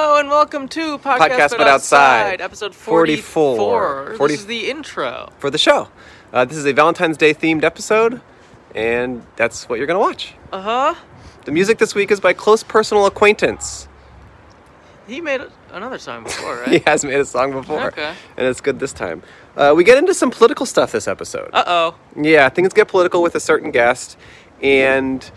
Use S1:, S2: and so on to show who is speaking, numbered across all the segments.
S1: welcome to Podcast,
S2: Podcast
S1: but,
S2: But
S1: outside,
S2: Outside,
S1: episode 44.
S2: 44. Forty-
S1: This is the intro.
S2: for the show. Uh, this is a Valentine's Day themed episode, and that's what you're gonna watch.
S1: Uh huh.
S2: The music this week is by Close Personal Acquaintance.
S1: He made another song before,
S2: He
S1: right?
S2: has made a song before,
S1: Okay.
S2: and it's good this time. Uh, we get into some political stuff this episode.
S1: Uh oh.
S2: Yeah, things get political with a certain guest, and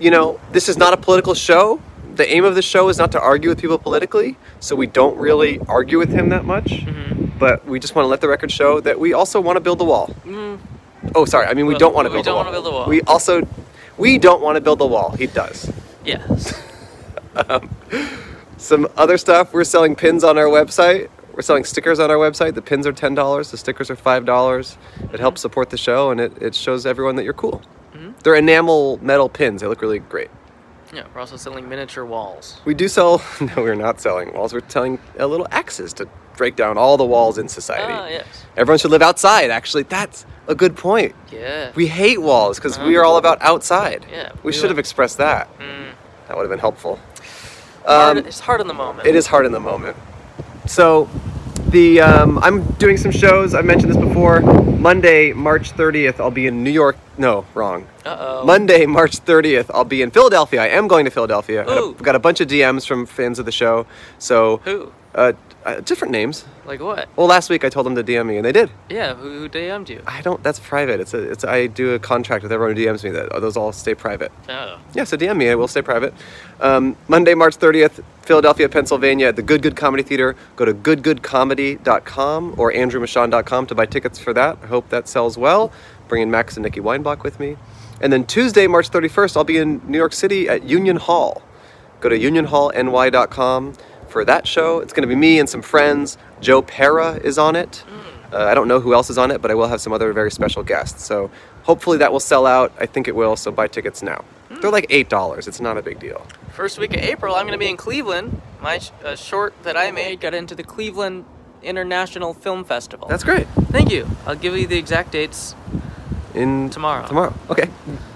S2: you know this is not a political show. The aim of the show is not to argue with people politically, so we don't really argue with him that much.
S1: Mm-hmm.
S2: But we just want to let the record show that we also want to build the wall.
S1: Mm,
S2: Oh, sorry. I mean, we
S1: Well,
S2: don't want to
S1: we
S2: build.
S1: don't
S2: the wall.
S1: wanna build the wall.
S2: We also we don't want to build the wall. He does.
S1: Yes.
S2: Some other stuff. We're selling pins on our website. We're selling stickers on our website. The pins are ten dollars. The stickers are five dollars. It
S1: Mm-hmm.
S2: helps support the show, and it, it shows everyone that you're cool. They're enamel metal pins. They look really great.
S1: Yeah, we're also selling miniature walls.
S2: We do sell. No, we're not selling walls. We're selling uh, little axes to break down all the walls in society.
S1: Ah, yes.
S2: Everyone should live outside. Actually, that's a good point.
S1: Yeah.
S2: We hate walls because we are all about outside.
S1: Uh-huh. Yeah,
S2: we
S1: we
S2: should
S1: are.
S2: have expressed that.
S1: Mm.
S2: That would have been helpful.
S1: Hard-
S2: Um,
S1: it's hard in the moment.
S2: it is hard in the moment. So, the um, I'm doing some shows. I mentioned this before. Monday, March 30th, I'll be in New York. No, wrong.
S1: Uh oh.
S2: Monday, March 30th, I'll be in Philadelphia. I am going to Philadelphia. I
S1: Ooh.
S2: got a- got a bunch of DMs from fans of the show. So,
S1: Who?
S2: uh, uh, different names.
S1: Like what?
S2: Well, last week I told them to DM me, and they did.
S1: Yeah, who, who DM'd you?
S2: I don't. That's private. It's a. It's. I do a contract with everyone who DMs me. That oh, those all stay private.
S1: Oh.
S2: Yeah, so DM me. I will stay private. Um, Monday, March 30th, Philadelphia, Pennsylvania, at the Good Good Comedy Theater. Go to goodgoodcomedy.com or andrewmachon.com to buy tickets for that. I hope that sells well. Bringing Max and Nikki Weinbach with me. And then Tuesday, March 31st, I'll be in New York City at Union Hall. Go to unionhallny.com for that show. It's going to be me and some friends. Joe Pera is on it. Uh, I don't know who else is on it, but I will have some other very special guests. So hopefully that will sell out. I think it will, so buy tickets now. They're like $8. It's not a big deal.
S1: First week of April, I'm going to be in Cleveland. My sh- uh, short that I made got into the Cleveland International Film Festival.
S2: That's great.
S1: Thank you. I'll give you the exact dates.
S2: In
S1: Tomorrow.
S2: Tomorrow. Okay.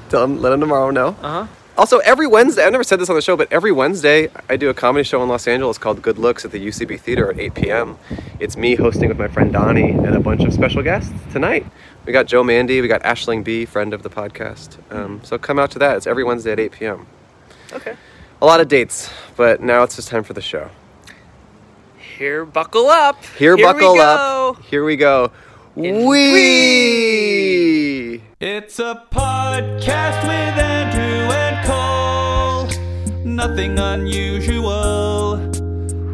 S2: Tell 'em- let them tomorrow know.
S1: Uh huh.
S2: Also, every Wednesday, I never said this on the show, but every Wednesday I do a comedy show in Los Angeles called Good Looks at the UCB Theater at 8 p.m. It's me hosting with my friend Donnie and a bunch of special guests tonight. We got Joe Mandy, we got Ashling B, friend of the podcast. Um, so come out to that. It's every Wednesday at 8 p.m.
S1: Okay.
S2: A lot of dates, but now it's just time for the show.
S1: Here, buckle up.
S2: Here, buckle
S1: we go.
S2: up. Here we go.
S1: In
S2: we.
S3: It's a podcast with Andrew and Cole. Nothing unusual,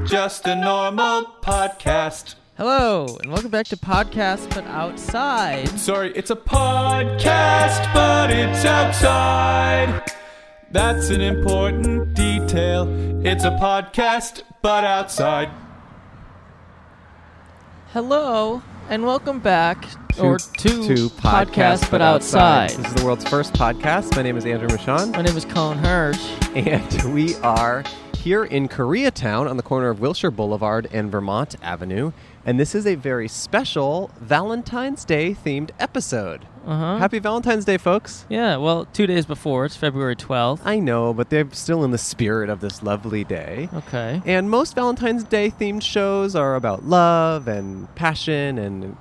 S3: just a normal podcast.
S4: Hello, and welcome back to Podcast But Outside.
S3: Sorry, it's a podcast, but it's outside. That's an important detail. It's a podcast, but outside.
S4: Hello, and welcome back or to,
S2: Two
S4: Podcast But Outside.
S2: This is the world's first podcast. My name is Andrew Michon,
S4: My name is Colin Hirsch.
S2: and we are here in Koreatown on the corner of Wilshire Boulevard and Vermont Avenue. And this is a very special Valentine's Day themed episode.
S4: Uh-huh.
S2: Happy Valentine's Day, folks.
S4: Yeah, well, two days before, it's February 12th.
S2: I know, but they're still in the spirit of this lovely day.
S4: Okay.
S2: And most Valentine's Day themed shows are about love and passion and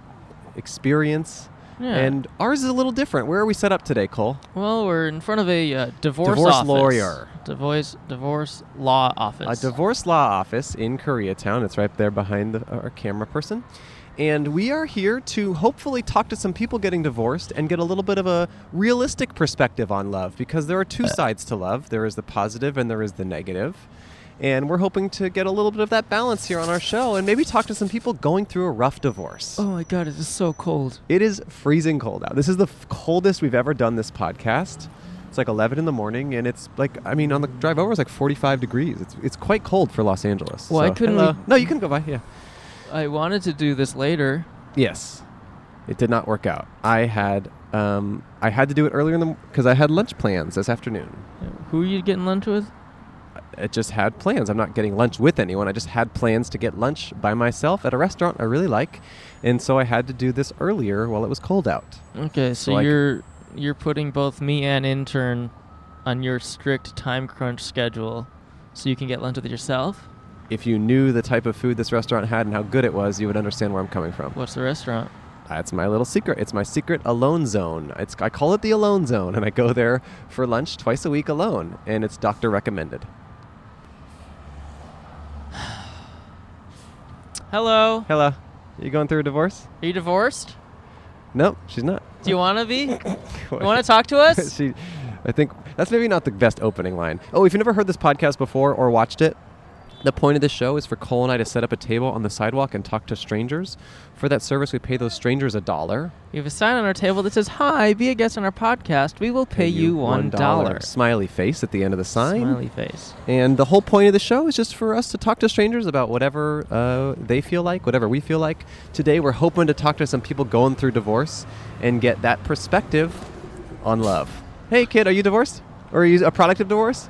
S2: experience.
S4: Yeah.
S2: And ours is a little different. Where are we set up today, Cole?
S4: Well, we're in front of a uh, divorce,
S2: Divorce
S4: office.
S2: lawyer.
S4: Divorce, divorce law
S2: A
S4: office.
S2: divorce law office in Koreatown. It's right there behind the, our camera person. And we are here to hopefully talk to some people getting divorced and get a little bit of a realistic perspective on love because there are two sides to love there is the positive and there is the negative. And we're hoping to get a little bit of that balance here on our show and maybe talk to some people going through a rough divorce.
S4: oh my god, it is so cold.
S2: It is freezing cold out. This is the f- coldest we've ever done this podcast. It's like 11 in the morning, and it's like, I mean, on the drive over, it's like 45 degrees. It's, it's quite cold for Los Angeles.
S4: Why
S2: so-
S4: couldn't
S2: Hello.
S4: we-
S2: No, you can go by, yeah.
S4: I wanted to do this later.
S2: Yes. It did not work out. I had, um, I had to do it earlier in the, because I had lunch plans this afternoon.
S4: Who are you getting lunch with?
S2: I just had plans. I'm not getting lunch with anyone. I just had plans to get lunch by myself at a restaurant I really like. And so I had to do this earlier while it was cold out.
S4: Okay, so
S2: So I c-
S4: you're you're putting both me and intern on your strict time crunch schedule, so you can get lunch with yourself.
S2: if you knew the type of food this restaurant had and how good it was, you would understand where I'm coming from.
S4: What's the restaurant?
S2: That's my little secret. It's my secret alone zone. It's, I call it the alone zone, and I go there for lunch twice a week alone, and it's doctor recommended.
S4: Hello.
S2: Hello. You going through a divorce?
S4: Are you divorced?
S2: No, she's not.
S4: Do you want to be? You want to talk to us?
S2: she, I think that's maybe not the best opening line. Oh, if you've never heard this podcast before or watched it, the point of this show is for Cole and I to set up a table on the sidewalk and talk to strangers. For that service, we pay those strangers a dollar.
S4: We have a sign on our table that says, "Hi, be a guest on our podcast. We will pay, you one dollar."
S2: Smiley face at the end of the sign.
S4: Smiley face.
S2: And the whole point of the show is just for us to talk to strangers about whatever uh, they feel like, whatever we feel like. Today, we're hoping to talk to some people going through divorce and get that perspective on love. Hey, kid, are you divorced? Or are you a product of divorce?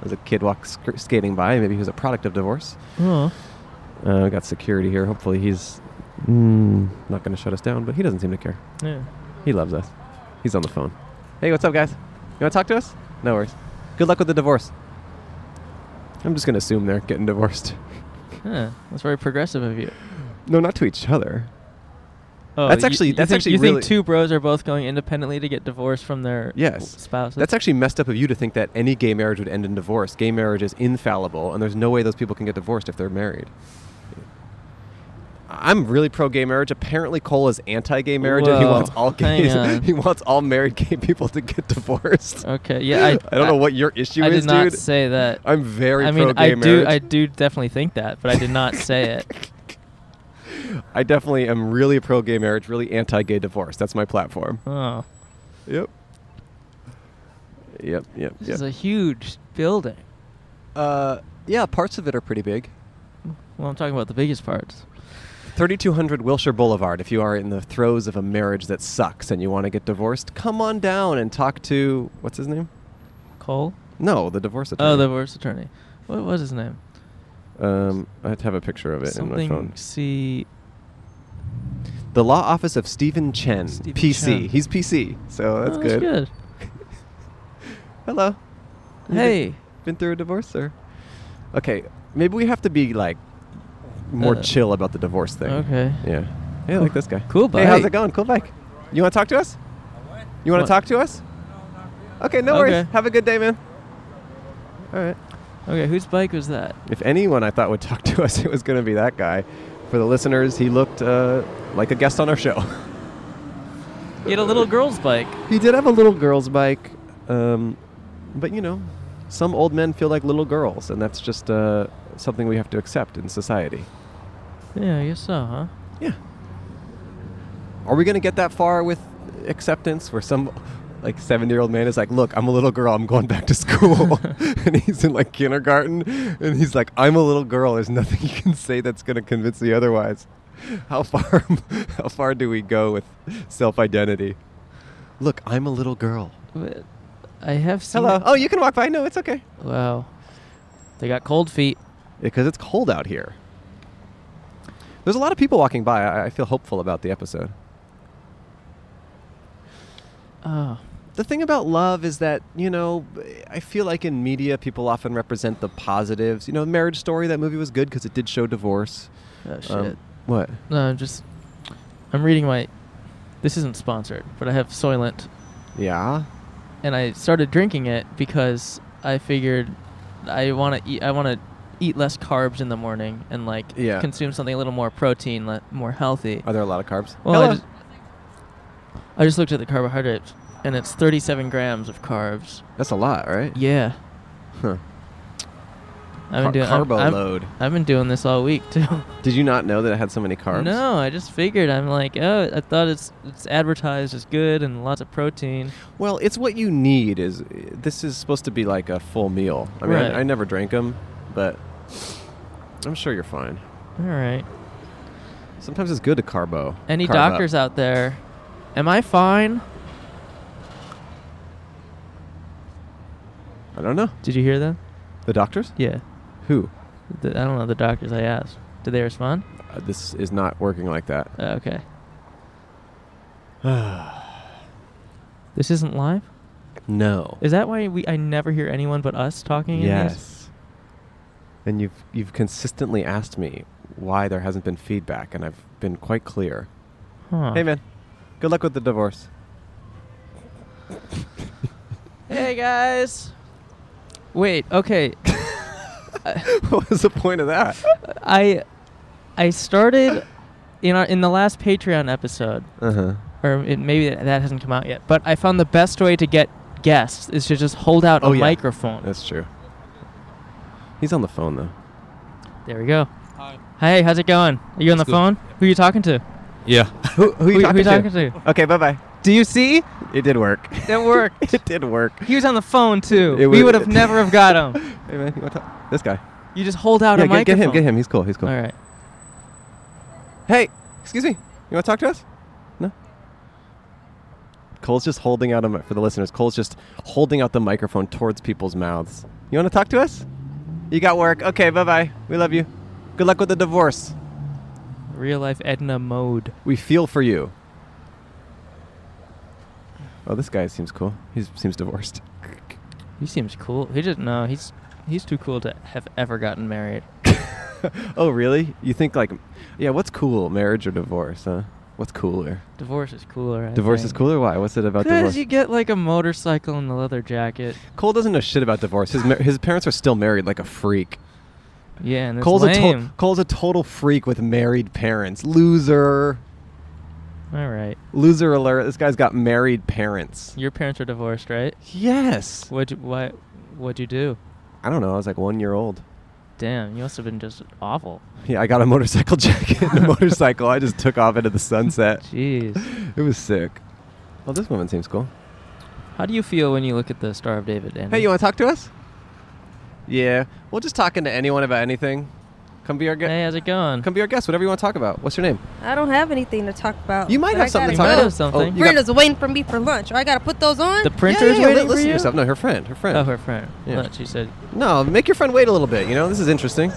S2: There's a kid walks sk- skating by. Maybe he was a product of divorce.
S4: Oh.
S2: Uh, we got security here. Hopefully, he's mm, not going to shut us down, but he doesn't seem to care.
S4: Yeah.
S2: He loves us. He's on the phone. Hey, what's up, guys? You want to talk to us? No worries. Good luck with the divorce. I'm just going to assume they're getting divorced.
S4: Huh. That's very progressive of you.
S2: No, not to each other.
S4: Oh,
S2: That's
S4: you-
S2: actually-
S4: you
S2: that's
S4: think-
S2: actually
S4: you
S2: really-
S4: think two bros are both going independently to get divorced from their
S2: Yes.
S4: spouses.
S2: That's actually messed up of you to think that any gay marriage would end in divorce. Gay marriage is infallible, and there's no way those people can get divorced if they're married. I'm really pro gay marriage. Apparently, Cole is anti gay marriage, and he
S4: Whoa.
S2: wants all
S4: Hang
S2: gays,
S4: on.
S2: he wants all married gay people to get divorced.
S4: okay. Yeah, I,
S2: I don't know what your issue
S4: I
S2: is,
S4: did not
S2: dude.
S4: say that.
S2: I'm very
S4: I mean,
S2: pro gay
S4: I do,
S2: marriage.
S4: I do definitely think that, but I did not say it.
S2: I definitely am really pro gay marriage, really anti gay divorce. That's my platform.
S4: Oh,
S2: Yep. Yep, yep,
S4: this
S2: yep.
S4: is a huge building.
S2: uh, yeah, parts of it are pretty big.
S4: Well, I'm talking about the biggest parts.
S2: 3200 Wilshire Boulevard. If you are in the throes of a marriage that sucks and you want to get divorced, come on down and talk to what's his name?
S4: Cole.
S2: No, the divorce attorney.
S4: Oh, the divorce attorney. What was his name?
S2: um, I have to have a picture of it in my phone.
S4: Something C.
S2: The law office of Stephen Chen,
S4: Stephen
S2: PC.
S4: Chen.
S2: He's PC, so that's,
S4: Oh,
S2: good. Hello. You
S4: Hey.
S2: been through a divorce, or? Okay, maybe we have to be like more
S4: Uh,
S2: chill about the divorce thing.
S4: Okay.
S2: Yeah. Hey, I like this guy.
S4: Cool
S2: Hey, how's
S4: bike.
S2: it going? Cool bike. You want to talk to us? You want to
S4: What?
S2: talk to us? Okay, no worries.
S4: Okay.
S2: Have a good day, man. All right.
S4: Okay. Whose bike was that?
S2: If anyone I thought would talk to us, it was going to be that guy. For the listeners, he looked uh, like a guest on our show.
S4: He had a little girl's bike.
S2: he did have a little girl's bike, um, but you know, some old men feel like little girls, and that's just uh, something we have to accept in society.
S4: Yeah, I guess so, huh?
S2: Yeah. Are we going to get that far with acceptance where some like 70 year old man is like, look, I'm a little girl, I'm going back to school. and he's in like kindergarten and he's like, I'm a little girl. There's nothing you can say that's going to convince me otherwise. How far, how far do we go with self identity? Look, I'm a little girl.
S4: But I have seen.
S2: Hello.
S4: it.
S2: Oh, you can walk by. No, it's okay.
S4: Wow. They got cold feet.
S2: Because it's cold out here. There's a lot of people walking by. I, I feel hopeful about the episode.
S4: Oh.
S2: the thing about love is that you know i feel like in media people often represent the positives you know marriage story that movie was good because it did show divorce
S4: Oh shit.
S2: Um, what
S4: no, I'm just. I'm reading my. This isn't sponsored, but I have Soylent,
S2: yeah
S4: and I started drinking it because I figured I want to eat. I want to eat less carbs in the morning and like
S2: Yeah.
S4: consume something a little more protein, le- more healthy.
S2: are there a lot of carbs
S4: Well, I
S2: Hello.
S4: just, I just looked at the carbohydrates, and it's 37 grams of carbs.
S2: that's a lot right
S4: Yeah,
S2: huh.
S4: I've been doing. I'm-
S2: carbo
S4: I'm-
S2: load
S4: I've been doing this all week too.
S2: did you not know that it had so many carbs
S4: No, I just figured. I'm like, oh, I thought it's it's advertised as good and lots of protein.
S2: well it's what you need is this is supposed to be like a full meal i mean
S4: Right.
S2: I, I never drank them but i'm sure you're fine
S4: All right.
S2: sometimes it's good to carbo
S4: Any
S2: carb up.
S4: doctors out there? Am I fine?
S2: i don't know
S4: Did you hear them?
S2: the doctors
S4: Yeah.
S2: who
S4: The, I don't know the doctors I asked. Did they respond?
S2: uh, this is not working like that
S4: Uh, okay. this isn't live.
S2: No.
S4: Is that why we I never hear anyone but us talking? in these?
S2: Yes. and you've you've consistently asked me why there hasn't been feedback, and I've been quite clear.
S4: Huh.
S2: Hey, man, good luck with the divorce.
S4: Hey, guys. Wait. Okay.
S2: what was the point of that?
S4: I I started in our in the last Patreon episode,
S2: Uh huh.
S4: or it, maybe that that hasn't come out yet. But I found the best way to get guests is to just hold out
S2: Oh,
S4: a
S2: yeah.
S4: microphone.
S2: That's true. He's on the phone though.
S4: There we go.
S5: Hi.
S4: Hey, how's it going? Are you on the
S5: It's good.
S4: phone? Who are you talking to?
S5: Yeah.
S2: Who, who
S4: who, who you talking to?
S2: Okay, bye bye. Do you see? It did work.
S4: That worked.
S2: it did work.
S4: He was on the phone too.
S2: It
S4: we
S2: wa-
S4: would have never have got him.
S2: Hey man, you want to talk? This guy.
S4: You just hold out
S2: yeah,
S4: a
S2: get, get
S4: microphone.
S2: him. Get him. He's cool. He's cool.
S4: All right.
S2: Hey, excuse me. You want to talk to us? No. Cole's just holding out a mi- for the listeners. Cole's just holding out the microphone towards people's mouths. You want to talk to us? You got work. Okay, bye bye. We love you. Good luck with the divorce.
S4: Real life Edna mode.
S2: We feel for you. Oh, this guy seems cool. He seems divorced.
S4: He seems cool. He just no. He's he's too cool to have ever gotten married.
S2: Oh, really? You think like, yeah? What's cool, marriage or divorce? Huh? What's cooler?
S4: Divorce is cooler. I
S2: divorce is
S4: think.
S2: cooler. Why? What's it about divorce?
S4: Because you get like a motorcycle and a leather jacket.
S2: Cole doesn't know shit about divorce. His mar- his parents are still married, like a freak.
S4: Yeah, and it's
S2: Cole's a
S4: lame.
S2: to- Cole's a total freak with married parents. Loser.
S4: All right,
S2: Loser alert. This guy's got married parents.
S4: your parents are divorced, right?
S2: Yes.
S4: What what what'd you do?
S2: I don't know. I was like one year old.
S4: Damn, you must have been just awful.
S2: Yeah, I got a motorcycle jacket and a motorcycle. I just took off into the sunset.
S4: Jeez,
S2: It was sick. Well, this woman seems cool.
S4: how do you feel when you look at the Star of David? Andy?
S2: Hey, you want to talk to us? Yeah, we'll just talk into anyone about anything. Come be our guest.
S4: Hey, how's it going?
S2: Come be our guest. Whatever you want to talk about. What's your name?
S6: I don't have anything to talk
S4: Oh,
S6: about.
S2: You might
S6: but
S2: have
S6: I
S2: something to
S6: gotta
S2: talk
S4: might
S6: go.
S2: about.
S4: have something.
S2: Oh, you got-
S6: Brenda's waiting for me for lunch. Oh, I gotta put those on.
S4: the printer's
S2: yeah, yeah,
S4: waiting
S2: listen
S4: for
S2: to
S4: you.
S2: yourself. No, her friend. Her friend.
S4: Oh, her friend.
S2: Yeah.
S4: Look, she said,
S2: No, make your friend wait a little bit. You know, this is interesting.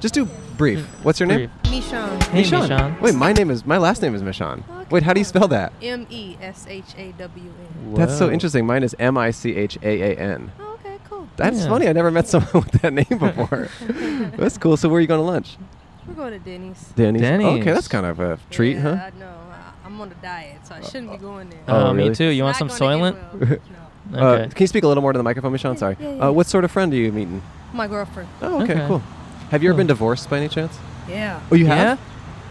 S2: Just do brief. What's your name?
S4: Mm, "Brief."
S6: Michon.
S4: Hey, Michon.
S2: Wait, my name is my last name is Michon. Wait, how do you spell that?
S6: M E S H A W N.
S2: That's so
S4: Whoa.
S2: interesting. Mine is M I C H A A N.
S6: Oh, okay, cool.
S2: That's
S4: Yeah.
S2: funny. I never met someone with that name before. that's cool. So where are you going to lunch?
S6: We're going to Denny's.
S2: Danny's. Okay,
S4: Denny's.
S2: that's kind of a treat,
S6: yeah,
S2: huh?
S6: I know. I- I'm on a diet, so I shouldn't be going there.
S2: Oh,
S4: Oh,
S2: really?
S4: me too. You want
S6: Not
S4: some
S6: gonna
S4: Soylent?
S6: get well. No.
S2: Uh, can you speak a little more to the microphone, Michon? Sorry.
S6: yeah, yeah.
S2: Uh, what sort of friend are you meeting?
S6: My girlfriend.
S2: Oh, okay,
S4: Okay.
S2: cool. Have you ever
S4: Cool.
S2: been divorced by any chance?
S6: Yeah.
S2: Oh, you
S4: yeah,
S2: have.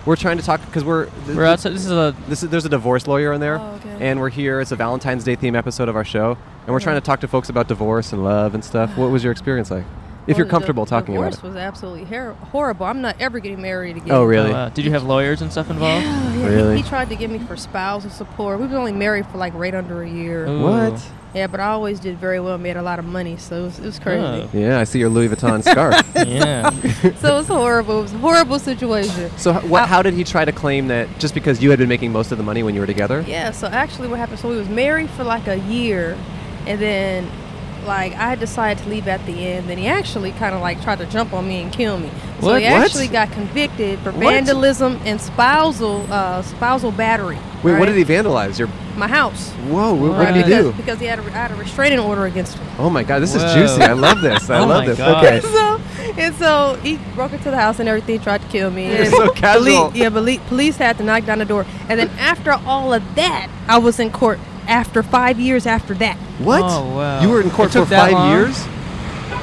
S2: We're trying to talk because we're th-
S4: we're outside. This is a
S2: This is, there's a divorce lawyer in there,
S6: Oh, okay.
S2: and we're here. It's a Valentine's Day theme episode of our show, and we're trying to talk to folks about divorce and love and stuff. What was your experience like? If
S6: Well,
S2: you're
S6: the
S2: comfortable talking about
S6: divorce
S2: it.
S6: was absolutely her- horrible. I'm not ever getting married again. Oh,
S2: Oh, really?
S4: Oh, wow. Did you have lawyers and stuff involved?
S6: Yeah, he-
S2: Really?
S6: He, tried to get me for spousal support. We were only married for like right under a year.
S4: Ooh.
S2: What?
S6: Yeah, but I always did very well, made a lot of money, so it was, it was crazy.
S4: Oh.
S2: Yeah, I see your Louis Vuitton scarf.
S4: yeah.
S6: so it was horrible. It was a horrible situation.
S2: So, h- what, how did he try to claim that just because you had been making most of the money when you were together?
S6: Yeah, so actually what happened, so we was married for like a year, and then like I decided to leave at the end, and he actually kind of like tried to jump on me and kill me. So
S4: What?
S6: he
S2: What?
S6: actually got convicted for
S2: What?
S6: vandalism and spousal uh, spousal battery.
S2: Wait, what did
S6: right?
S2: he vandalize? Your
S6: My house.
S2: whoa! What,
S4: Right.
S2: what did he
S6: because,
S2: do?
S6: because he had a, I had a restraining order against him.
S2: Oh my God, this is
S4: Whoa.
S2: juicy. I love this. I
S4: Oh
S2: love
S4: my
S2: this.
S4: God.
S2: Okay.
S6: so and so he broke into the house and everything tried to kill me.
S2: You're
S6: And
S2: so casual.
S6: Police, yeah, police, police had to knock down the door. And then after all of that, I was in court after five years after that.
S2: What?
S4: Oh, wow.
S2: You were in court
S4: It
S2: for
S4: took that
S2: five
S4: long?
S2: years?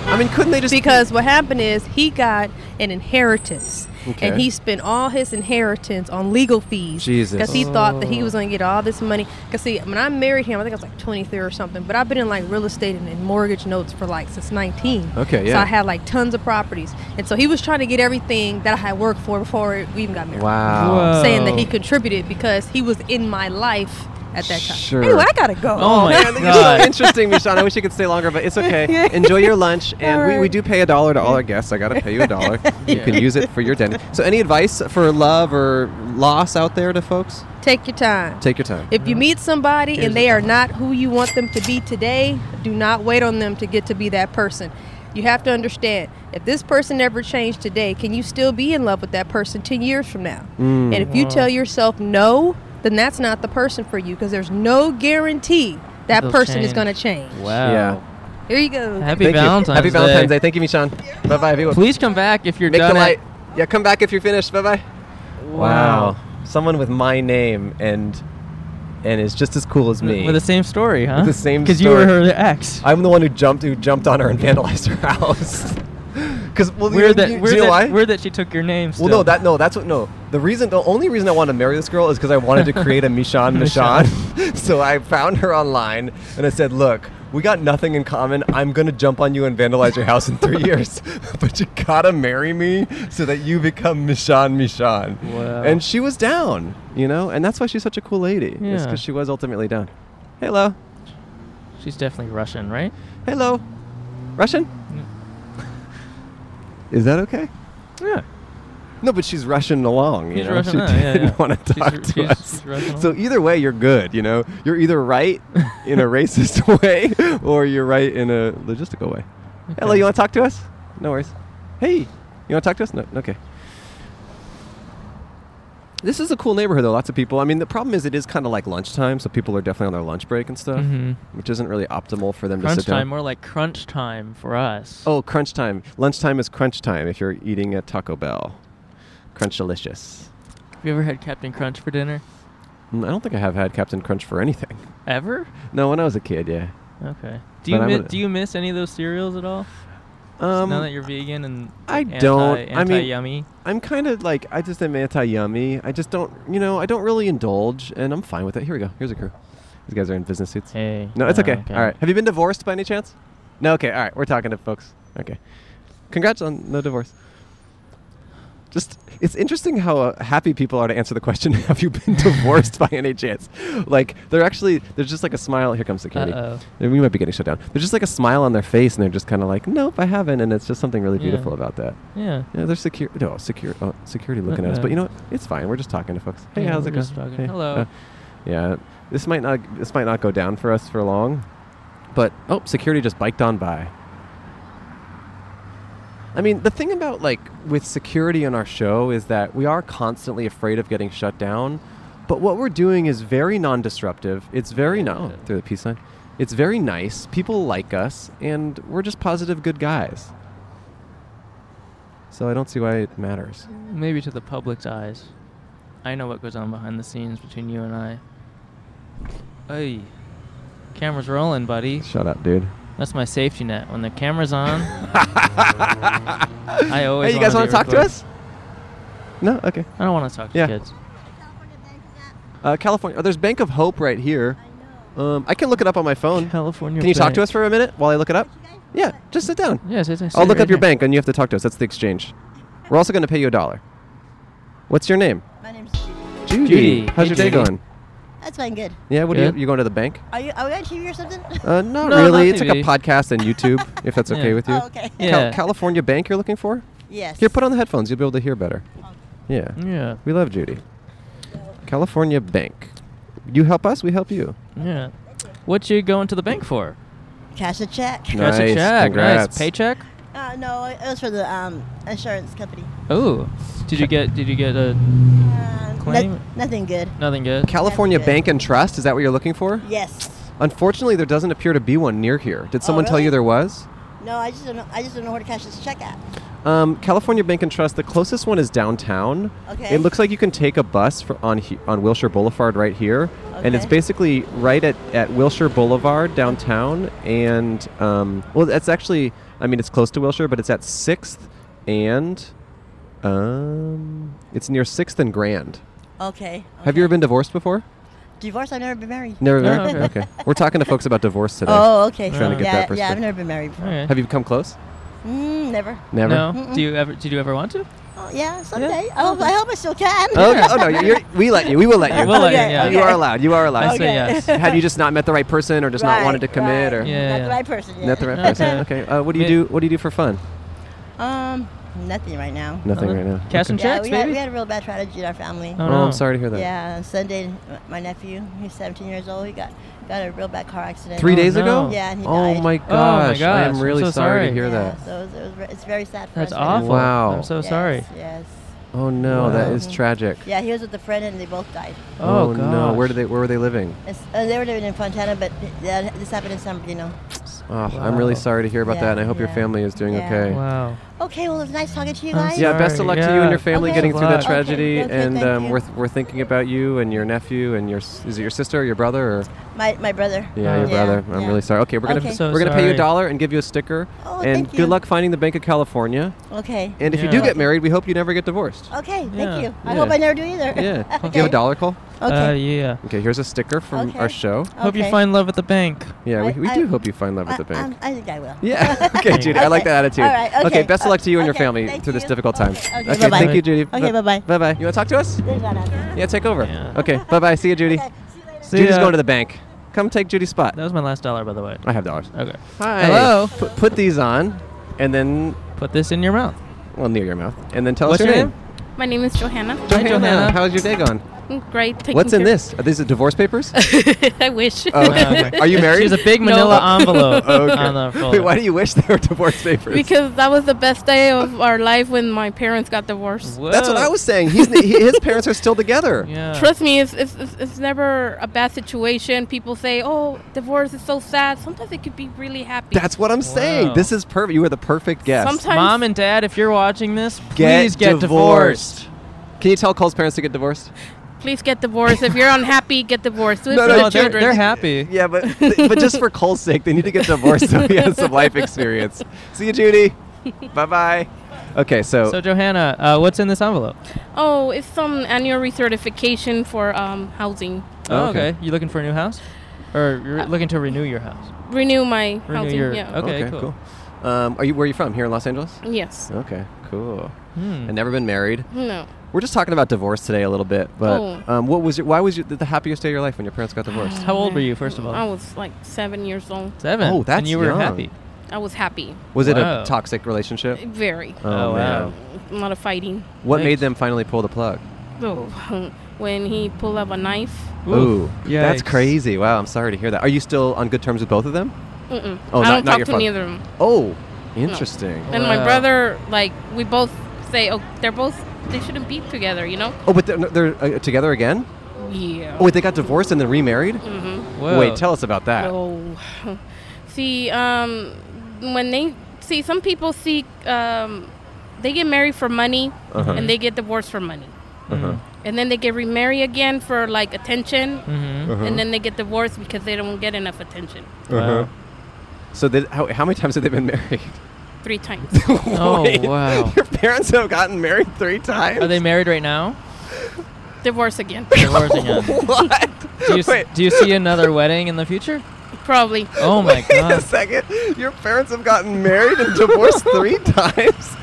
S2: I mean, couldn't they just
S6: Because what happened is he got an inheritance.
S2: Okay.
S6: And he spent all his inheritance on legal fees.
S2: Jesus.
S6: Because he thought that he
S4: Oh.
S6: was going to get all this money. Because, see, when I married him, I think I was like 23 or something. But I've been in like real estate and, and mortgage notes for like since 19.
S2: Okay,
S6: So
S2: yeah.
S6: I had like tons of properties. And so he was trying to get everything that I had worked for before we even got married.
S2: Wow.
S4: Whoa.
S6: Saying that he contributed because he was in my life at that time.
S2: Sure.
S6: Anyway, I got to go.
S4: Oh my
S2: Man, you're so
S4: God.
S2: interesting, Michonne. I wish you could stay longer, but it's okay. Enjoy your lunch, and we, we do pay a dollar to all our guests. I gotta pay you a dollar. You
S4: Yeah.
S2: can use it for your Denny. So, any advice for love or loss out there to folks?
S6: Take your time.
S2: Take your time.
S6: If you meet somebody
S4: Here's
S6: and they
S4: the
S6: are not who you want them to be today, do not wait on them to get to be that person. You have to understand if this person never changed today, can you still be in love with that person 10 years from now?
S4: Mm.
S6: And if you
S4: Uh-huh.
S6: tell yourself no, then that's not the person for you because there's no guarantee that
S4: They'll
S6: person is
S4: change.
S6: going to change.
S4: Wow.
S2: Yeah.
S6: Here you go.
S4: Oh. Happy
S2: Thank you.
S4: Valentine's
S2: Happy Valentine's Day.
S4: Day.
S2: Thank you, Michon. Bye bye, everyone.
S4: Please come back if you're
S2: Make the
S4: done. at-
S2: light. Yeah, come back if you're finished. Bye bye.
S4: Wow.
S2: Someone with my name and and is just as cool as me.
S4: With the same story, huh?
S2: the same
S4: Because you were
S2: story.
S4: her ex.
S2: I'm the one who jumped who jumped on her and vandalized her house. Because well, you,
S4: weird that
S2: you, do
S4: weird
S2: you know
S4: that,
S2: why?
S4: weird that she took your name.
S2: Well,
S4: still.
S2: no, that no, that's what no. The reason, the only reason I wanted to marry this girl is because I wanted to create a Mishan Mishan. so I found her online and I said, "Look, we got nothing in common. I'm gonna jump on you and vandalize your house in three years, but you gotta marry me so that you become Mishan Mishan."
S4: Wow.
S2: And she was down, you know, and that's why she's such a cool lady.
S4: Yeah.
S2: because she was ultimately down. Hello,
S4: she's definitely Russian, right?
S2: hello, Russian. Is that okay?
S4: Yeah.
S2: No, but she's rushing along. You
S4: She's
S2: know,
S4: rushing
S2: she
S4: along, yeah,
S2: didn't
S4: yeah.
S2: want to
S4: She's
S2: talk
S4: ru-
S2: to
S4: she's-
S2: us.
S4: she's rushing
S2: so either way, you're good. You know, you're either right in a racist way or you're right in a logistical way. Hello, you want to talk to us? No worries. Hey, you want to talk to us? No, okay. This is a cool neighborhood, though. Lots of people. I mean, the problem is it is kind of like lunchtime, so people are definitely on their lunch break and stuff,
S4: Mhm.
S2: which isn't really optimal for them to
S4: Crunch
S2: sit down.
S4: time, more like crunch time for us.
S2: Oh, crunch time. Lunchtime is crunch time if you're eating at Taco Bell. Crunch delicious.
S4: Have you ever had Captain Crunch for dinner?
S2: Mm, I don't think I have had Captain Crunch for anything.
S4: Ever?
S2: No, when I was a kid, yeah.
S4: Okay. Do you
S2: But I'm
S4: mi-
S2: gonna-
S4: do you miss any of those cereals at all?
S2: Um,
S4: now that you're vegan and
S2: I
S4: anti,
S2: don't- I mean-
S4: anti yummy.
S2: I'm kind of like I just am anti-yummy. I just don't, you know, I don't really indulge, and I'm fine with it. Here we go. Here's a crew. These guys are in business suits.
S4: Hey.
S2: No, it's
S4: uh,
S2: okay. All right. Have you been divorced by any chance? No. Okay. All right. We're talking to folks. Okay. Congrats on no divorce. Just it's interesting how uh, happy people are to answer the question. Have you been divorced by any chance? Like they're actually there's just like a smile. Here comes security.
S4: Uh-oh.
S2: We might be getting shut down. There's just like a smile on their face, and they're just kind of like, nope, I haven't. And it's just something really
S4: Yeah.
S2: beautiful about that.
S4: Yeah.
S2: Yeah, they're secure. No, secure. Oh, security looking at us.
S4: Uh-uh.
S2: But you know, what? it's fine. We're just talking to folks. Hey,
S4: Yeah,
S2: how's
S4: we're
S2: it
S4: just
S2: going?
S4: talking.
S2: Hey, uh,
S4: Hello.
S2: yeah, this might not. This might not go down for us for long. But oh, security just biked on by. I mean, the thing about like with security on our show is that we are constantly afraid of getting shut down. But what we're doing is very non-disruptive. It's very no through the peace sign. It's very nice. People like us, and we're just positive good guys. So I don't see why it matters.
S4: Maybe to the public's eyes. I know what goes on behind the scenes between you and I. Hey. Camera's rolling, buddy.
S2: Shut up, dude.
S4: That's my safety net. When the camera's on, I always.
S2: Hey, you guys
S4: wanna be
S2: want to talk to
S4: recorded.
S2: us? No, okay.
S4: I don't want to talk to
S2: Yeah.
S4: kids.
S2: Uh, California. Oh, there's Bank of Hope right here. Um, I can look it up on my phone.
S4: California.
S2: Can you talk to
S4: Bank.
S2: us for a minute while I look it up? Yeah, just sit down.
S4: Yes, it's. it's
S2: I'll look
S4: right
S2: up your
S4: here.
S2: bank and you have to talk to us. That's the exchange. We're also going to pay you a dollar. What's your name?
S5: My name's
S2: Judy.
S5: Judy.
S4: Judy.
S2: How's
S4: Hey,
S2: your day
S4: Judy.
S2: going?
S5: That's fine, good.
S2: Yeah, what
S4: Good.
S2: do you, you going to the bank?
S5: Are you are we on TV or something?
S2: Uh, not
S4: No,
S2: really.
S4: not
S2: it's like a
S4: TV.
S2: podcast and YouTube, if that's okay
S4: Yeah.
S2: with you.
S5: oh, okay.
S4: Yeah.
S2: Cal- California Bank you're looking for?
S5: Yes.
S2: Here, put on the headphones. You'll be able to hear better. Yeah.
S4: Yeah.
S2: We love Judy. California Bank. You help us, we help you.
S4: Yeah. What you going to the bank for?
S5: Cash a check.
S4: That's a
S2: Nice,
S4: check.
S2: congrats.
S4: Nice paycheck.
S5: Uh, no, it was for the um, insurance company.
S4: Oh, did you get? Did you get a
S5: Uh, no-
S4: Claim.
S5: nothing good.
S4: nothing good?
S2: California
S5: good.
S2: Bank and Trust, is that what you're looking for?
S5: Yes.
S2: Unfortunately, there doesn't appear to be one near here. Did someone tell
S5: really?
S2: you there was?
S5: No, I just don't know. I just don't know where to cash this check at.
S2: Um, California Bank and Trust, the closest one is downtown.
S5: Okay.
S2: It looks like you can take a bus for on he- on Wilshire Boulevard right here, and it's
S5: Okay.
S2: basically right at, at Wilshire Boulevard downtown. And um, well, that's actually, I mean, it's close to Wilshire, but it's at Sixth and um, it's near Sixth and Grand.
S5: Okay.
S2: Have you ever been divorced before?
S5: divorced? I've never been married.
S2: Never
S4: No,
S2: married?
S4: okay.
S2: okay. We're talking to folks about divorce today.
S5: Oh, okay.
S2: Trying
S4: to get
S2: that
S5: yeah, yeah, I've
S2: perspective.
S5: never been married before.
S4: Alright.
S2: Have you come close?
S5: Mm, never.
S2: Never.
S4: No. Do you ever? Did you ever want to?
S5: Oh, yeah, someday. I, hope, I hope I still can.
S2: Oh, no, oh no, you're, we let you. We will let you.
S4: We'll let you,
S5: Okay,
S4: yeah.
S2: You are allowed. You are allowed.
S4: I say yes.
S2: Had you just not met the right person, or just not wanted to
S5: Right,
S2: commit,
S5: right.
S2: or
S4: Yeah,
S5: not
S4: yeah.
S5: the right person. Yeah.
S2: not the right person? Okay. Uh, what do you do? What do you do for fun?
S5: Um, nothing right now.
S2: Nothing
S4: Uh,
S2: right now.
S4: Cash and
S5: Yeah,
S4: checks,
S5: we had,
S4: baby.
S5: we had a real bad tragedy in our family.
S4: Oh,
S2: Oh,
S4: no.
S2: I'm sorry to hear that.
S5: Yeah, on Sunday, m- my nephew, he's 17 years old, he got got in a real bad car accident.
S2: Three
S4: Oh,
S2: days
S4: no.
S2: ago.
S5: Yeah, and he
S2: oh
S5: died.
S2: my
S5: Oh,
S2: gosh.
S4: my
S2: I
S4: gosh,
S2: am
S4: I'm
S2: really
S4: so
S2: sorry to
S4: sorry.
S2: hear
S5: yeah,
S2: that.
S5: So it was, it was, ve- it's very sad for
S4: That's
S5: us.
S4: awful.
S2: Wow.
S4: I'm so
S5: Yes,
S4: sorry.
S5: Yes.
S2: Oh no, that
S4: Wow.
S2: is tragic.
S5: Yeah, he was with a friend and they both died.
S4: Oh,
S2: no.
S4: gosh.
S2: Where did they? Where were they living?
S5: It's, uh, they were living in Fontana, but th- that, this happened in San Bernardino.
S2: Oh, I'm really
S4: Wow.
S2: sorry to hear about
S5: Yeah,
S2: that, and I hope your
S5: yeah,
S2: family is doing
S5: yeah.
S2: okay.
S4: Wow.
S5: Okay, well, it was nice talking to you
S4: I'm
S5: guys.
S2: Yeah, best of
S4: Sorry,
S2: luck to you and
S4: yeah.
S2: your family
S5: Okay.
S2: getting through that
S4: Okay,
S2: tragedy,
S5: okay,
S2: and
S5: thank
S2: um,
S5: you.
S2: we're, th- we're thinking about you and your nephew and your s- is it your sister or your brother or
S5: My, my brother.
S2: yeah your
S4: Yeah,
S2: brother. I'm
S5: yeah.
S2: really sorry. Okay, we're gonna
S5: Okay.
S4: So
S2: we're gonna pay you a
S4: sorry.
S2: dollar and give you a sticker,
S5: Oh,
S2: and
S5: thank
S2: good
S5: you.
S2: luck finding the Bank of California.
S5: Okay.
S2: And if you
S4: Yeah.
S2: do get married, we hope you never get divorced.
S5: Okay, thank
S4: Yeah,
S5: you. I
S2: yeah.
S5: hope I never do either.
S2: Yeah, do
S5: Oh, okay.
S2: you have a dollar, Cole?
S4: Uh,
S5: Okay.
S4: yeah.
S2: Okay, here's a sticker from
S5: Okay.
S2: our show.
S4: Hope you
S5: Okay.
S4: find love at the bank.
S2: Yeah,
S5: I-
S2: we, we
S5: I-
S2: do hope you find love at the
S5: I,
S2: bank.
S5: I'm- I think I will.
S2: yeah. okay, Judy. I like
S5: Okay.
S2: that attitude.
S5: All right, okay.
S2: best of luck to you and your
S5: Okay,
S2: family
S5: thank
S2: through this
S5: you.
S2: difficult time.
S5: Okay, okay, bye-bye.
S2: thank you, Judy.
S5: Okay, bye-bye.
S2: Bye bye. You want to talk to us?
S5: There's one out there.
S2: Yeah, take over.
S4: Yeah.
S2: Okay, bye bye. See you, Judy.
S5: Okay, see you later.
S4: See
S2: Judy's
S4: ya.
S2: going to the bank. Come take Judy's spot.
S4: That was my last dollar, by the way.
S2: I have dollars.
S4: Okay.
S2: Hi.
S4: Hello.
S2: P- put these on, and then
S4: Put this in your mouth.
S2: well near your mouth, and then tell
S4: What's
S2: us your,
S4: your
S2: name.
S7: My name is Johanna.
S4: Hi, Johanna.
S2: How's your day going?
S7: Great. Taking
S2: What's in
S7: care-
S2: this? Are these the divorce papers?
S7: I wish.
S2: Oh, okay. Are you married? Oh,
S4: She's a big manila envelope on the folder.
S2: Wait, why do you wish they were divorce papers?
S7: because that was the best day of our life when my parents got divorced.
S2: that's what
S4: Whoa.
S2: I was saying. He's, he- his parents are still together.
S4: Yeah.
S7: Trust me, it's, it's, it's, it's never a bad situation. People say, oh, divorce is so sad. Sometimes it could be really happy.
S2: That's what I'm saying.
S4: Wow.
S2: This is perfect. You were the perfect guest.
S7: Sometimes
S4: Mom and Dad, if you're watching this,
S2: Get
S4: please get
S2: divorced.
S4: divorced.
S2: Can you tell Cole's parents to get divorced?
S7: please get divorced. if you're unhappy, get divorced. Do it
S2: No,
S7: for
S2: no,
S7: the
S4: No, they're,
S7: children.
S4: they're happy.
S2: Yeah, but but just for Cole's sake, they need to get divorced so he has some life experience. See you, Judy. bye bye. Okay, so,
S4: So Johanna, uh, what's in this envelope?
S7: Oh, it's some annual recertification for um, housing.
S4: Oh,
S2: Oh, okay. Uh,
S4: okay. You looking for a new house, or you're looking to renew your house?
S7: Renew my
S4: Renew
S7: housing.
S4: your-
S7: yeah.
S4: okay, cool.
S2: Um, are you where are you from? Here in Los Angeles?
S7: Yes.
S2: Okay, cool.
S4: Hmm.
S2: I've never been married.
S7: No.
S2: We're just talking about divorce today a little bit, but
S7: Oh.
S2: um, what was your, why was your, the happiest day of your life when your parents got divorced?
S4: How old were you, first of all?
S7: I was like seven years old.
S4: Seven.
S2: Oh, that's
S4: And you were
S2: young.
S4: happy.
S7: I was happy.
S2: Was it a
S4: Wow.
S2: toxic relationship?
S7: Very.
S4: Oh, wow.
S7: a lot of fighting.
S2: What
S4: Thanks.
S2: made them finally pull the plug?
S7: Oh, when he pulled up a knife.
S4: Yikes.
S2: that's crazy! Wow, I'm sorry to hear that. Are you still on good terms with both of them?
S7: Mm-mm.
S2: Oh,
S7: I
S2: not-
S7: don't
S2: not
S7: talk
S2: your
S7: to
S2: father.
S7: neither of them.
S2: Oh, interesting.
S7: And my
S4: Wow.
S7: brother, like, we both say, oh, they're both, they shouldn't be together, you know?
S2: Oh, but they're, they're uh, together again?
S7: Yeah.
S2: Oh, wait, they got divorced and then remarried?
S4: Whoa.
S2: Wait, tell us about that.
S7: Oh. see, um, when they, see, some people seek, um, they get married for money
S2: Uh-huh.
S7: and they get divorced for money.
S2: Uh-huh.
S7: And then they get remarried again for, like, attention.
S4: Mm-hmm.
S2: Uh-huh.
S7: And then they get divorced because they don't get enough attention.
S2: Uh-huh. So, they, how, how many times have they been married?
S7: Three times.
S4: Oh,
S2: Wait,
S4: wow.
S2: Your parents have gotten married three times?
S4: Are they married right now?
S7: Divorce again.
S4: Divorcing again.
S2: what?
S4: Do you, s-
S2: Wait.
S4: do you see another wedding in the future?
S7: Probably.
S4: Oh my
S2: Wait a
S4: god.
S2: second. Your parents have gotten married and divorced three times?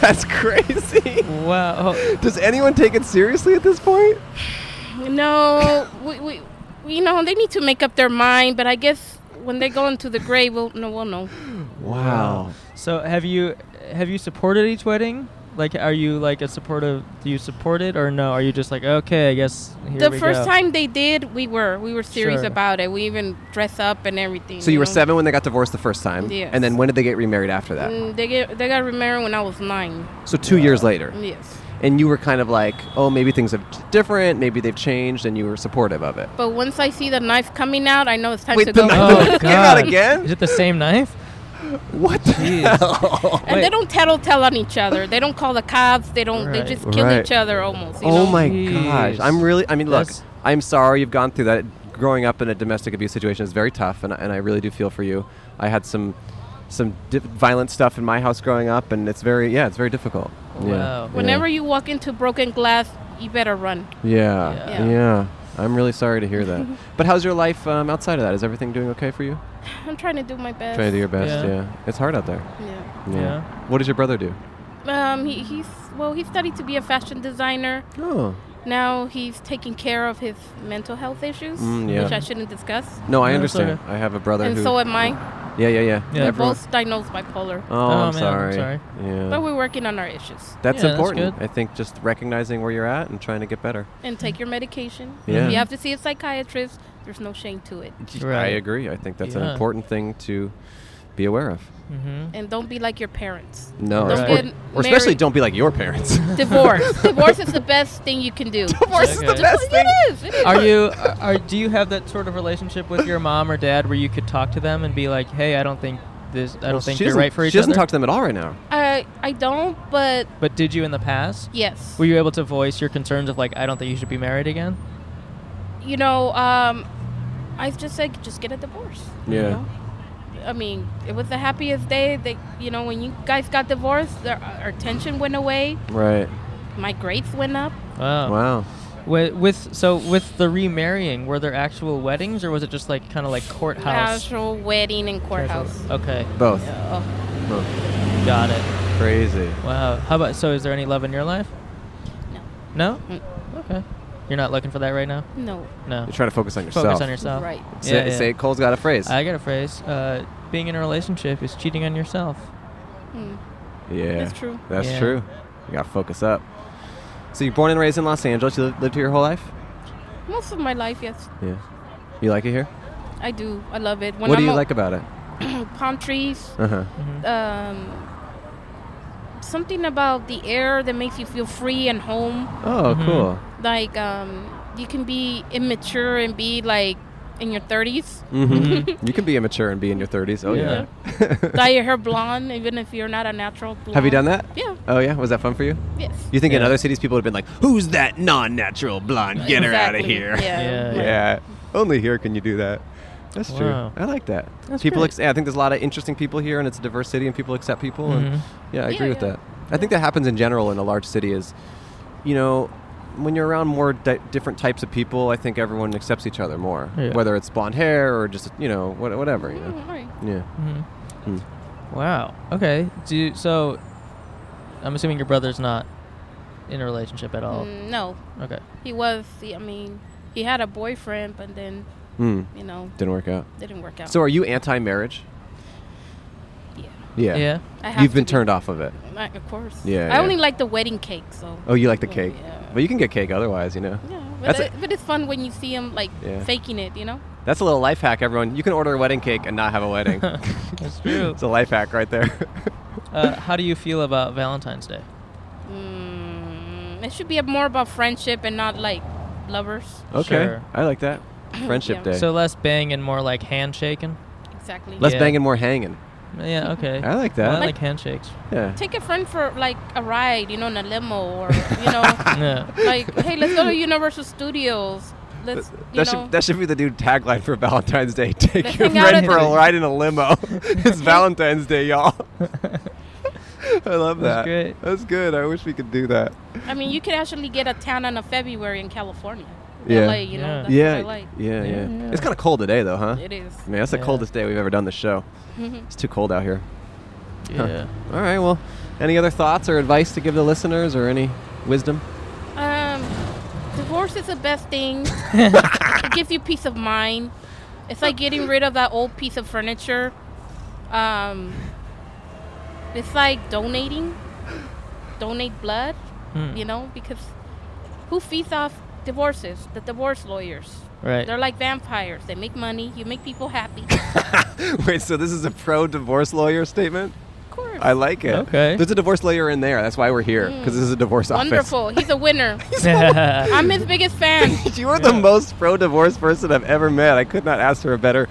S2: That's crazy.
S4: Wow. Oh,
S2: Does anyone take it seriously at this point?
S7: No, we, we, we- you know, they need to make up their mind. But I guess when they go into the grave, we'll no, we'll know.
S2: Wow.
S4: So have you have you supported each wedding? Like, are you like a supportive? Do you support it or no? Are you just like okay? I guess here
S7: the
S4: we
S7: first
S4: go.
S7: time they did, we were we were serious
S4: Sure.
S7: about it. We even dress up and everything.
S2: So you were
S7: know?
S2: seven when they got divorced the first time,
S7: Yes.
S2: and then when did they get remarried after that?
S7: Mm, They get they got remarried when I was nine.
S2: So two years later,
S7: Yes,
S2: and you were kind of like, oh, maybe things are t- different, maybe they've changed, and you were supportive of it.
S7: but once I see the knife coming out, I know it's time
S2: Wait,
S7: to
S2: the
S7: go.
S2: knife-
S4: Oh god.
S2: Came out again?
S4: Is it the same knife?
S2: What the
S4: Jeez.
S2: hell?
S7: and
S4: Wait.
S7: they don't tell tell on each other. They don't call the cops. They don't.
S4: Right.
S7: They just kill
S2: Right.
S7: each other almost. You
S2: Oh
S7: know?
S2: my
S4: Jeez.
S2: gosh! I'm really. I mean, look.
S4: That's-
S2: I'm sorry you've gone through that. Growing up in a domestic abuse situation is very tough, and, I- and I really do feel for you. I had some some di- violent stuff in my house growing up, and it's very yeah, it's very difficult. Yeah.
S4: Wow.
S2: Yeah.
S7: Whenever you walk into broken glass, you better run.
S2: Yeah. Yeah.
S4: Yeah.
S2: I'm really sorry to hear that. but how's your life um, outside of that? Is everything doing okay for you?
S7: I'm trying to do my best.
S2: Trying to do your best. Yeah.
S4: Yeah.
S2: It's hard out there.
S7: Yeah.
S4: Yeah.
S2: What does your brother do?
S7: Um, he, he's well. He studied to be a fashion designer.
S2: Oh.
S7: Now he's taking care of his mental health issues,
S2: Mm, yeah.
S7: which I shouldn't discuss.
S2: No, I
S4: No, it's
S2: understand.
S4: okay.
S2: I have a brother
S7: and
S2: who.
S7: so am I.
S2: yeah, yeah, yeah.
S4: Yeah.
S7: We're
S2: Everyone-
S7: both diagnosed bipolar,
S2: Oh,
S4: Oh,
S2: I'm
S4: man, I'm
S2: sorry.
S4: sorry.
S2: Yeah.
S7: but we're working on our issues.
S4: Yeah,
S2: That's
S4: that's
S2: important.
S4: good.
S2: I think just recognizing where you're at and trying to get better.
S7: And take your medication.
S2: Yeah.
S7: If you have to see a psychiatrist, there's no shame to it.
S4: Right.
S2: I agree. I think that's an
S4: Yeah.
S2: important thing to be aware of.
S4: Mm-hmm.
S7: and don't be like your parents.
S8: No,
S7: Don't
S4: Right.
S7: get
S2: Or, or especially
S7: married.
S2: don't be like your parents.
S7: divorce. divorce is the best thing you can do. Divorce
S4: is the best
S7: thing. It is. It is.
S4: Are you are- are do you have that sort of relationship with your mom or dad where you could talk to them and be like, "Hey, I don't think this I don't
S2: Well,
S4: think
S2: she
S4: you're
S2: doesn't-
S4: right for each
S2: She doesn't
S4: other."
S2: talk to them at all right now.
S7: I I don't, but
S4: but did you in the past?
S7: yes.
S4: Were you able to voice your concerns of like, "I don't think you should be married again"?
S7: you know, um, I've just said just get a divorce.
S8: Yeah.
S7: You know? I mean, it was the happiest day. They, you know, when you guys got divorced, our, our tension went away.
S2: Right.
S7: My grades went up.
S4: Wow.
S2: Wow.
S4: With, with so with the remarrying, were there actual weddings or was it just like kind of like courthouse?
S7: Casual wedding and courthouse.
S4: Okay,
S2: Both.
S7: Yeah.
S4: got it.
S2: Crazy.
S4: Wow. How about so? Is there any love in your life?
S7: No.
S4: No.
S7: Mm.
S4: Okay. You're not looking for that right now.
S7: No.
S4: No.
S2: You're trying to focus on yourself.
S4: Focus on yourself.
S7: Right.
S2: Say,
S4: Yeah, yeah.
S2: say Cole's got a phrase.
S4: I got a phrase. Uh, being in a relationship is cheating on yourself.
S7: Mm,
S2: yeah.
S7: That's true.
S2: That's
S4: Yeah.
S2: true. You got to focus up. So you're born and raised in Los Angeles. You li- lived here your whole life?
S7: Most of my life, yes,
S2: Yeah. You like it here?
S7: I do. I love it. When
S2: what
S7: I'm
S2: do you
S7: o-
S2: like about it?
S7: palm trees.
S2: Uh huh.
S7: Um, something about the air that makes you feel free and home.
S2: Oh,
S4: Mhm.
S2: cool.
S7: Like um, you can be immature and be like in your 30s.
S2: Mm-hmm. you can be immature and be in your 30s. Oh, yeah.
S4: Yeah.
S7: Dye your hair blonde, even if you're not a natural. Blonde.
S2: Have you done that?
S7: Yeah.
S2: Oh, yeah. Was that fun for you?
S7: Yes.
S2: You think in
S4: Yeah.
S2: other cities people would have been like, who's that non natural blonde? Get her out of
S7: Exactly.
S2: here.
S7: Yeah.
S4: Yeah.
S2: Yeah. Only here can you do that. That's
S4: Wow.
S2: true. I like that. people,
S4: great.
S2: ex- yeah, I think there's a lot of interesting people here, and it's a diverse city, and people accept people.
S4: Mhm.
S2: And yeah, I
S7: Yeah,
S2: agree with
S7: yeah.
S2: that. I think that happens in general in a large city. Is you know, when you're around more di- different types of people, I think everyone accepts each other more,
S4: Yeah.
S2: whether it's blonde hair or just you know what, whatever. You know.
S7: Mm, all right.
S2: Yeah.
S4: Mhm.
S2: Hmm.
S4: Wow. Okay. Do you- so. I'm assuming your brother's not in a relationship
S2: Oh.
S4: at all.
S7: Mm, no,
S4: Okay.
S7: he was. he- I mean, he had a boyfriend, but then
S2: Mm.
S7: you know,
S2: Didn't work out.
S7: didn't work out.
S2: So are you anti-marriage?
S7: yeah.
S2: Yeah.
S4: Yeah.
S7: I have
S2: You've
S7: to
S2: been
S7: be.
S2: turned off of it.
S7: I- of course.
S2: Yeah,
S7: I
S2: yeah.
S7: only like the wedding cake, so.
S2: Oh, you like the
S7: Yeah,
S2: cake,
S7: yeah.
S2: but you can get cake otherwise, you know.
S7: Yeah, but,
S2: That's a-
S7: it, but it's fun when you see him like
S2: Yeah.
S7: faking it, you know.
S2: That's a little life hack, everyone. You can order a wedding cake and not have a wedding.
S4: That's true.
S2: it's a life hack right there.
S4: Uh, how do you feel about Valentine's Day?
S7: Mm, it should be more about friendship and not like lovers.
S2: okay,
S4: Sure.
S2: I like that. Friendship
S7: Yeah.
S2: day.
S4: So less bang and more like handshaking.
S7: Exactly.
S2: Less
S4: Yeah.
S2: banging, more hanging.
S7: Mm-hmm.
S4: Yeah. Okay.
S2: I like
S4: Well,
S2: that.
S4: I like handshakes.
S2: yeah.
S7: Take a friend for like a ride, you know, in a limo or you know,
S2: Ah.
S4: Yeah.
S7: like hey, let's go to Universal Studios. Let's you
S2: That
S7: know.
S2: should, that should be the new tagline for Valentine's Day. Take
S7: Let's
S2: your
S7: hang out
S2: friend
S7: at
S2: for a
S7: the-
S2: ride in a limo. it's Valentine's Day, y'all. I love that.
S4: That's great.
S2: That's good. I wish we could do that.
S7: I mean, you could actually get a town on a February in California.
S2: Yeah.
S7: LA, you know,
S4: Yeah.
S7: that's what
S2: yeah,
S7: I like.
S2: yeah, yeah,
S4: Yeah.
S2: It's kind of cold today, though, huh?
S7: It is.
S2: Man, that's the
S4: Yeah.
S2: coldest day we've ever done the show. it's too cold out here.
S4: Yeah.
S2: All right. Well, any other thoughts or advice to give the listeners, or any wisdom?
S7: Um, divorce is the best thing. it gives you peace of mind. It's like getting rid of that old piece of furniture. Um, it's like donating, donate blood.
S4: Hmm.
S7: You know, because who feeds off divorces? The divorce lawyers.
S4: Right.
S7: They're like vampires. They make money. You make people happy.
S2: Wait, so this is a pro-divorce lawyer statement?
S7: Of course.
S2: I like it.
S4: Okay.
S2: There's a divorce lawyer in there. That's why we're here because this is a divorce
S7: Wonderful. He's a winner.
S4: yeah.
S7: I'm his biggest fan.
S2: office. you are the most pro-divorce person I've ever met. I could not ask for a better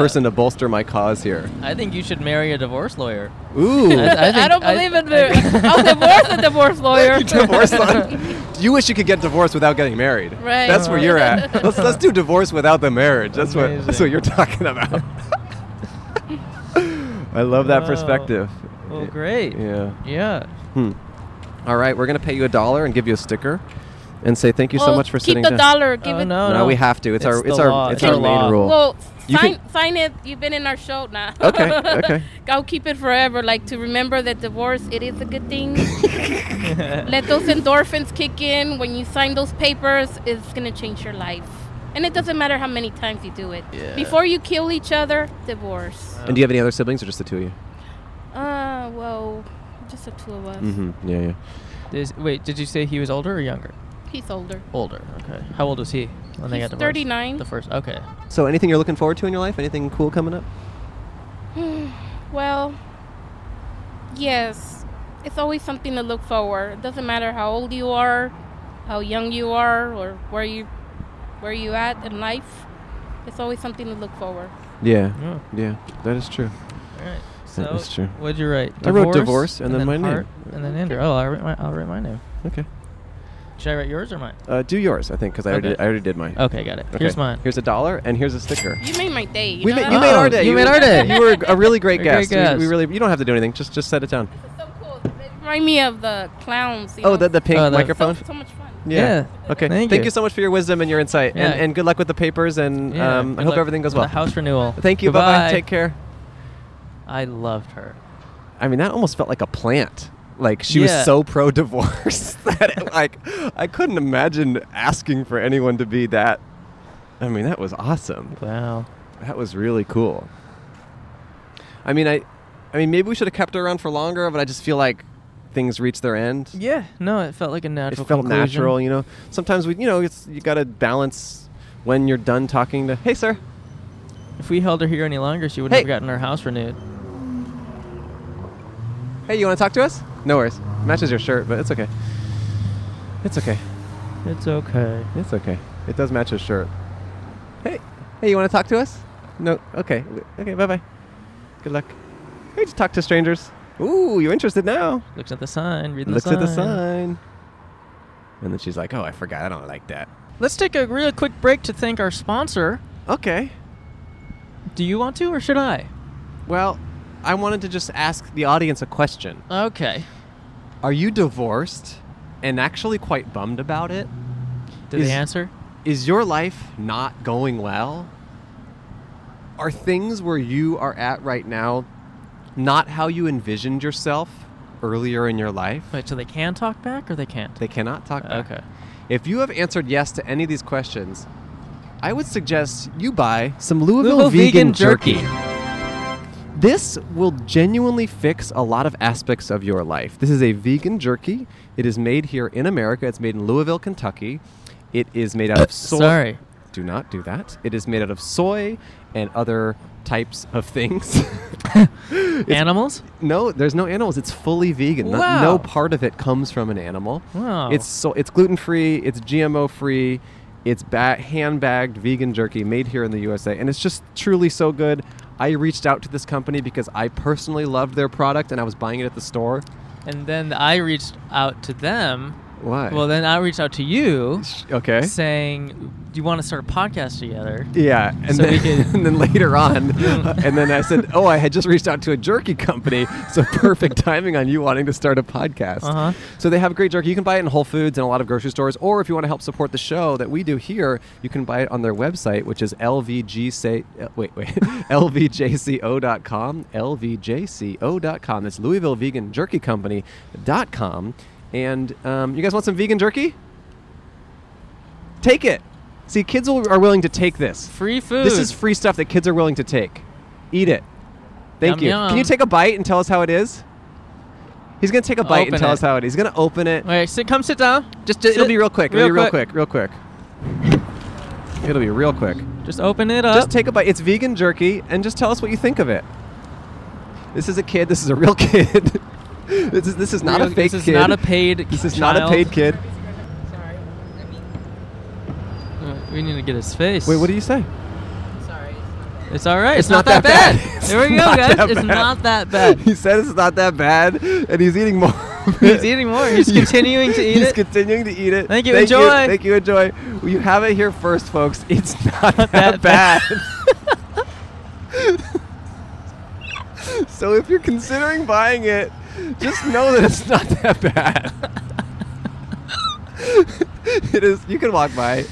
S2: person to bolster my cause here.
S4: I think you should marry a divorce lawyer.
S2: Ooh.
S4: I
S7: I,
S4: think-
S7: don't
S4: I-
S7: believe in the. I'll divorce a divorce lawyer.
S2: divorce law. You wish you could get divorced without getting married.
S7: Right.
S2: That's where you're at. Let's let's do divorce without the marriage. That's what that's
S4: Amazing.
S2: what you're talking about. I love that
S4: Wow.
S2: perspective.
S4: Well, great.
S2: Yeah.
S4: Yeah.
S2: All right, we're gonna pay you a dollar and give you a sticker, and say thank you so
S7: Well,
S2: much for
S7: keep
S2: sitting
S7: the
S2: down.
S7: dollar. Give
S4: Oh,
S7: it.
S4: no,
S2: No,
S4: no,
S2: we have to. It's, our
S4: the
S2: it's our
S4: law.
S2: it's our
S7: Take-
S2: main rule.
S7: Well,
S2: You
S7: sign,
S2: can-
S7: sign it. You've been in our show now.
S2: Okay, okay.
S7: I'll keep it forever. Like to remember that divorce, it is a good thing. Let those endorphins kick in when you sign those papers. It's gonna change your life, and it doesn't matter how many times you do it.
S4: Yeah.
S7: Before you kill each other, divorce.
S2: and do you have any other siblings or just the two of you?
S7: Uh, well, just the two of us.
S2: Mm-hmm. Yeah, yeah.
S4: Is- wait, did you say he was older or younger?
S7: He's older.
S4: Older. Okay. How old was he when they
S7: He's
S4: got divorced?
S7: 39.
S4: The first. Okay.
S2: So, anything you're looking forward to in your life? Anything cool coming up?
S7: Well, yes, it's always something to look forward. It doesn't matter how old you are, how young you are, or where you where you at in life. It's always something to look forward.
S2: Yeah.
S4: Yeah.
S2: Yeah. That is true.
S4: All right. So
S2: That is true.
S4: What'd you write?
S2: I wrote divorce and then my name.
S4: heart, And then Andrew. Oh, I'll write, my, I'll write my name.
S2: Okay.
S4: Should I write yours or mine?
S2: Uh, do yours, I think, because I, already
S4: Okay.
S2: I already did mine.
S4: Okay, got it.
S2: Okay.
S4: Here's mine.
S2: Here's a dollar, and here's a sticker.
S7: You made my day. You
S2: we
S7: know
S2: made,
S7: that?
S2: you made
S4: Oh,
S2: our day.
S4: you made our day.
S2: You were a really great
S4: A great
S2: guest. We- We,
S4: guest.
S2: really. You don't have to do anything. Just just set it down.
S7: This is so cool. They remind me of the clowns. You
S2: Oh,
S7: know?
S2: the, the pink
S4: Oh, the-
S2: microphone.
S7: so, so much fun.
S4: Yeah.
S2: Okay.
S4: Thank you.
S2: so much for your wisdom and your insight, and,
S4: Yeah.
S2: and good luck with the papers. And
S4: Yeah,
S2: um, I
S4: good
S2: hope
S4: luck
S2: everything goes
S4: with
S2: well.
S4: The house renewal.
S2: Thank you.
S4: Goodbye.
S2: Bye. Take care.
S4: I loved her.
S2: I mean, that almost felt like a plant. Like she
S4: Yeah.
S2: was so pro divorce that it, like I couldn't imagine asking for anyone to be that. I mean, that was awesome.
S4: Wow.
S2: That was really cool. I mean, I, I mean, maybe we should have kept her around for longer, but I just feel like things reached their end.
S4: Yeah. No, it felt like a
S2: it
S4: natural.
S2: felt
S4: conclusion.
S2: natural, you know. Sometimes we, you know, it's you gotta balance when you're done talking to. Hey, sir.
S4: If we held her here any longer, she would
S2: Hey.
S4: have gotten her house renewed.
S2: Hey, you want to talk to us? No worries. Matches your shirt, but it's okay. It's okay.
S4: It's okay.
S2: It's okay. It does match his shirt. Hey, hey, you want to talk to us? No. Okay. Okay. Bye bye. Good luck. Hey, just talk to strangers. Ooh, you're interested now.
S4: Looks at the sign. Reading
S2: Looks
S4: the sign.
S2: at the sign. And then she's like, "Oh, I forgot. I don't like that."
S4: Let's take a real quick break to thank our sponsor.
S2: Okay.
S4: Do you want to or should I?
S2: Well, I wanted to just ask the audience a question.
S4: Okay.
S2: Are you divorced and actually quite bummed about it?
S4: Did
S2: Is-
S4: they answer?
S2: Is your life not going well? Are things where you are at right now not how you envisioned yourself earlier in your life?
S4: Wait, so they can talk back or they can't?
S2: They cannot talk back.
S4: Okay.
S2: If you have answered yes to any of these questions, I would suggest you buy some Louisville, vegan, jerky. This will genuinely fix a lot of aspects of your life. This is a vegan jerky. It is made here in America. It's made in Louisville, Kentucky. It is made out of soy.
S4: Sorry.
S2: Do not do that. It is made out of soy and other types of things.
S4: Animals?
S2: no, there's no animals. It's fully vegan. No-
S4: Wow.
S2: No, part of it comes from an animal.
S4: Wow.
S2: It's so it's gluten free. It's GMO free. It's ba- hand bagged vegan jerky made here in the USA, and it's just truly so good. I reached out to this company because I personally loved their product, and I was buying it at the store.
S4: And then I reached out to them.
S2: Why?
S4: Well, then I reached out to you
S2: Sh- okay.
S4: saying, Do you want to start a podcast together?
S2: Yeah, and,
S4: So we
S2: then,
S4: could-
S2: and then later on, and then I said, "Oh, I had just reached out to a jerky company, so perfect timing on you wanting to start a podcast."
S4: Uh-huh.
S2: So they have great jerky. You can buy it in Whole Foods and a lot of grocery stores, or if you want to help support the show that we do here, you can buy it on their website, which is lvgc. uh, Wait, wait, lvjco.com, lvjco.com. That's Louisville Vegan Jerky Company dot com. And um, you guys want some vegan jerky? Take it. See, kids will, are willing to take this.
S4: Free food.
S2: This is free stuff that kids are willing to take. Eat it. Thank
S4: Yum,
S2: you. Can you
S4: yum.
S2: take a bite and tell us how it is? He's gonna take a bite and
S4: Open
S2: tell
S4: it.
S2: us how it is. He's gonna open it.
S4: Wait, sit, come sit down.
S2: Just, just it'll
S4: sit
S2: be real quick.
S4: real
S2: it'll be real
S4: quick.
S2: quick. Real quick. It'll be real quick.
S4: Just open it up.
S2: Just take a bite. It's vegan jerky, and just tell us what you think of it. This is a kid. This is a real kid. this is this is not
S4: Real-
S2: a fake
S4: This is
S2: kid.
S4: not a paid
S2: This is not a paid kid.
S4: kid. Uh, We need to get his face.
S2: Wait, what do you say?
S4: It's all right. It's, not, that bad. There we go,
S2: not
S4: guys.
S2: that
S4: It's
S2: bad.
S4: not that bad.
S2: He said it's not that bad, and he's eating more. of
S4: He's
S2: it.
S4: eating more. He's continuing to eat
S2: He's
S4: it.
S2: continuing to eat it.
S4: Thank you, enjoy.
S2: Thank you. Enjoy. Well, you have it here first, folks. It's not, that
S4: that
S2: bad.
S4: bad.
S2: so if you're considering buying it, just know that it's not that bad. it is. You can walk by.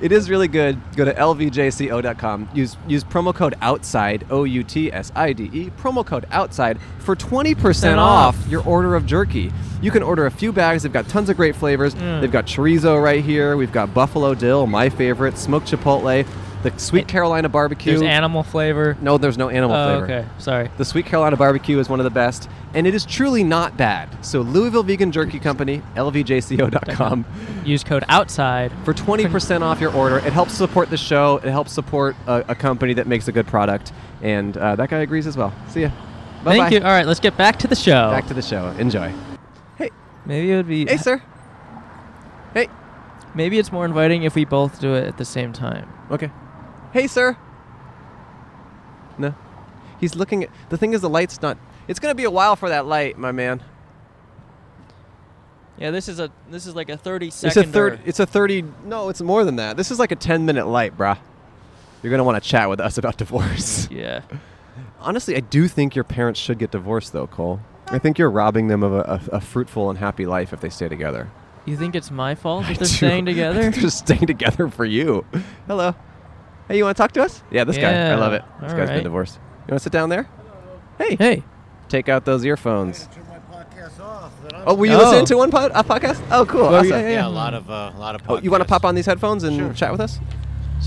S2: It is really good. Go to lvjco.com. Use use promo code outside O U T S I D E promo code outside for twenty percent off
S4: off.
S2: your order of jerky. You can order a few bags. They've got tons of great flavors.
S4: Mm.
S2: They've got chorizo right here. We've got buffalo dill, my favorite, smoked chipotle, the sweet Carolina barbecue.
S4: There's animal flavor.
S2: no, there's no animal
S4: oh,
S2: flavor.
S4: okay. Sorry.
S2: The Sweet Carolina barbecue is one of the best, and it is truly not bad. So Louisville Vegan Jerky Company, lvjco.com,
S4: Use code outside.
S2: for 20% off your order. It helps support the show. It helps support a, a company that makes a good product, and uh, that guy agrees as well. See ya. Bye-bye.
S4: Thank you. All right, let's get back to the show.
S2: Back to the show. Enjoy.
S4: Maybe it would be.
S2: Hey, sir.
S4: Maybe it's more inviting if we both do it at the same time.
S2: Okay. Hey, sir. No. He's looking at. The thing is, the light's not. It's going to be a while for that light, my man.
S4: Yeah, this is a this is like a thirty
S2: It's
S4: second.
S2: a third. It's a thirty. No, it's more than that. This is like a ten-minute light, bruh. You're gonna want to chat with us about divorce.
S4: Yeah.
S2: Honestly, I do think your parents should get divorced, though, Cole. I think you're robbing them of a, a, a fruitful and happy life if they stay together.
S4: You think it's my fault
S2: I
S4: that they're
S2: do.
S4: staying
S2: I
S4: together?
S2: think they're staying together for you. Hello. Hey, you want to talk to us? Yeah, this guy. I
S4: Yeah.
S2: love it. This
S4: All
S2: guy's been
S4: right.
S2: divorced. You want to sit down there? Hey.
S4: hey,
S2: Take out those earphones.
S9: Turn my podcast off. That I'm
S2: Oh, were you
S4: Oh.
S2: listening to one pod- a podcast? Oh, cool. awesome.
S9: yeah, a lot of uh, a lot of. Podcasts.
S2: Oh, you want to pop on these headphones and
S9: Sure.
S2: chat with us?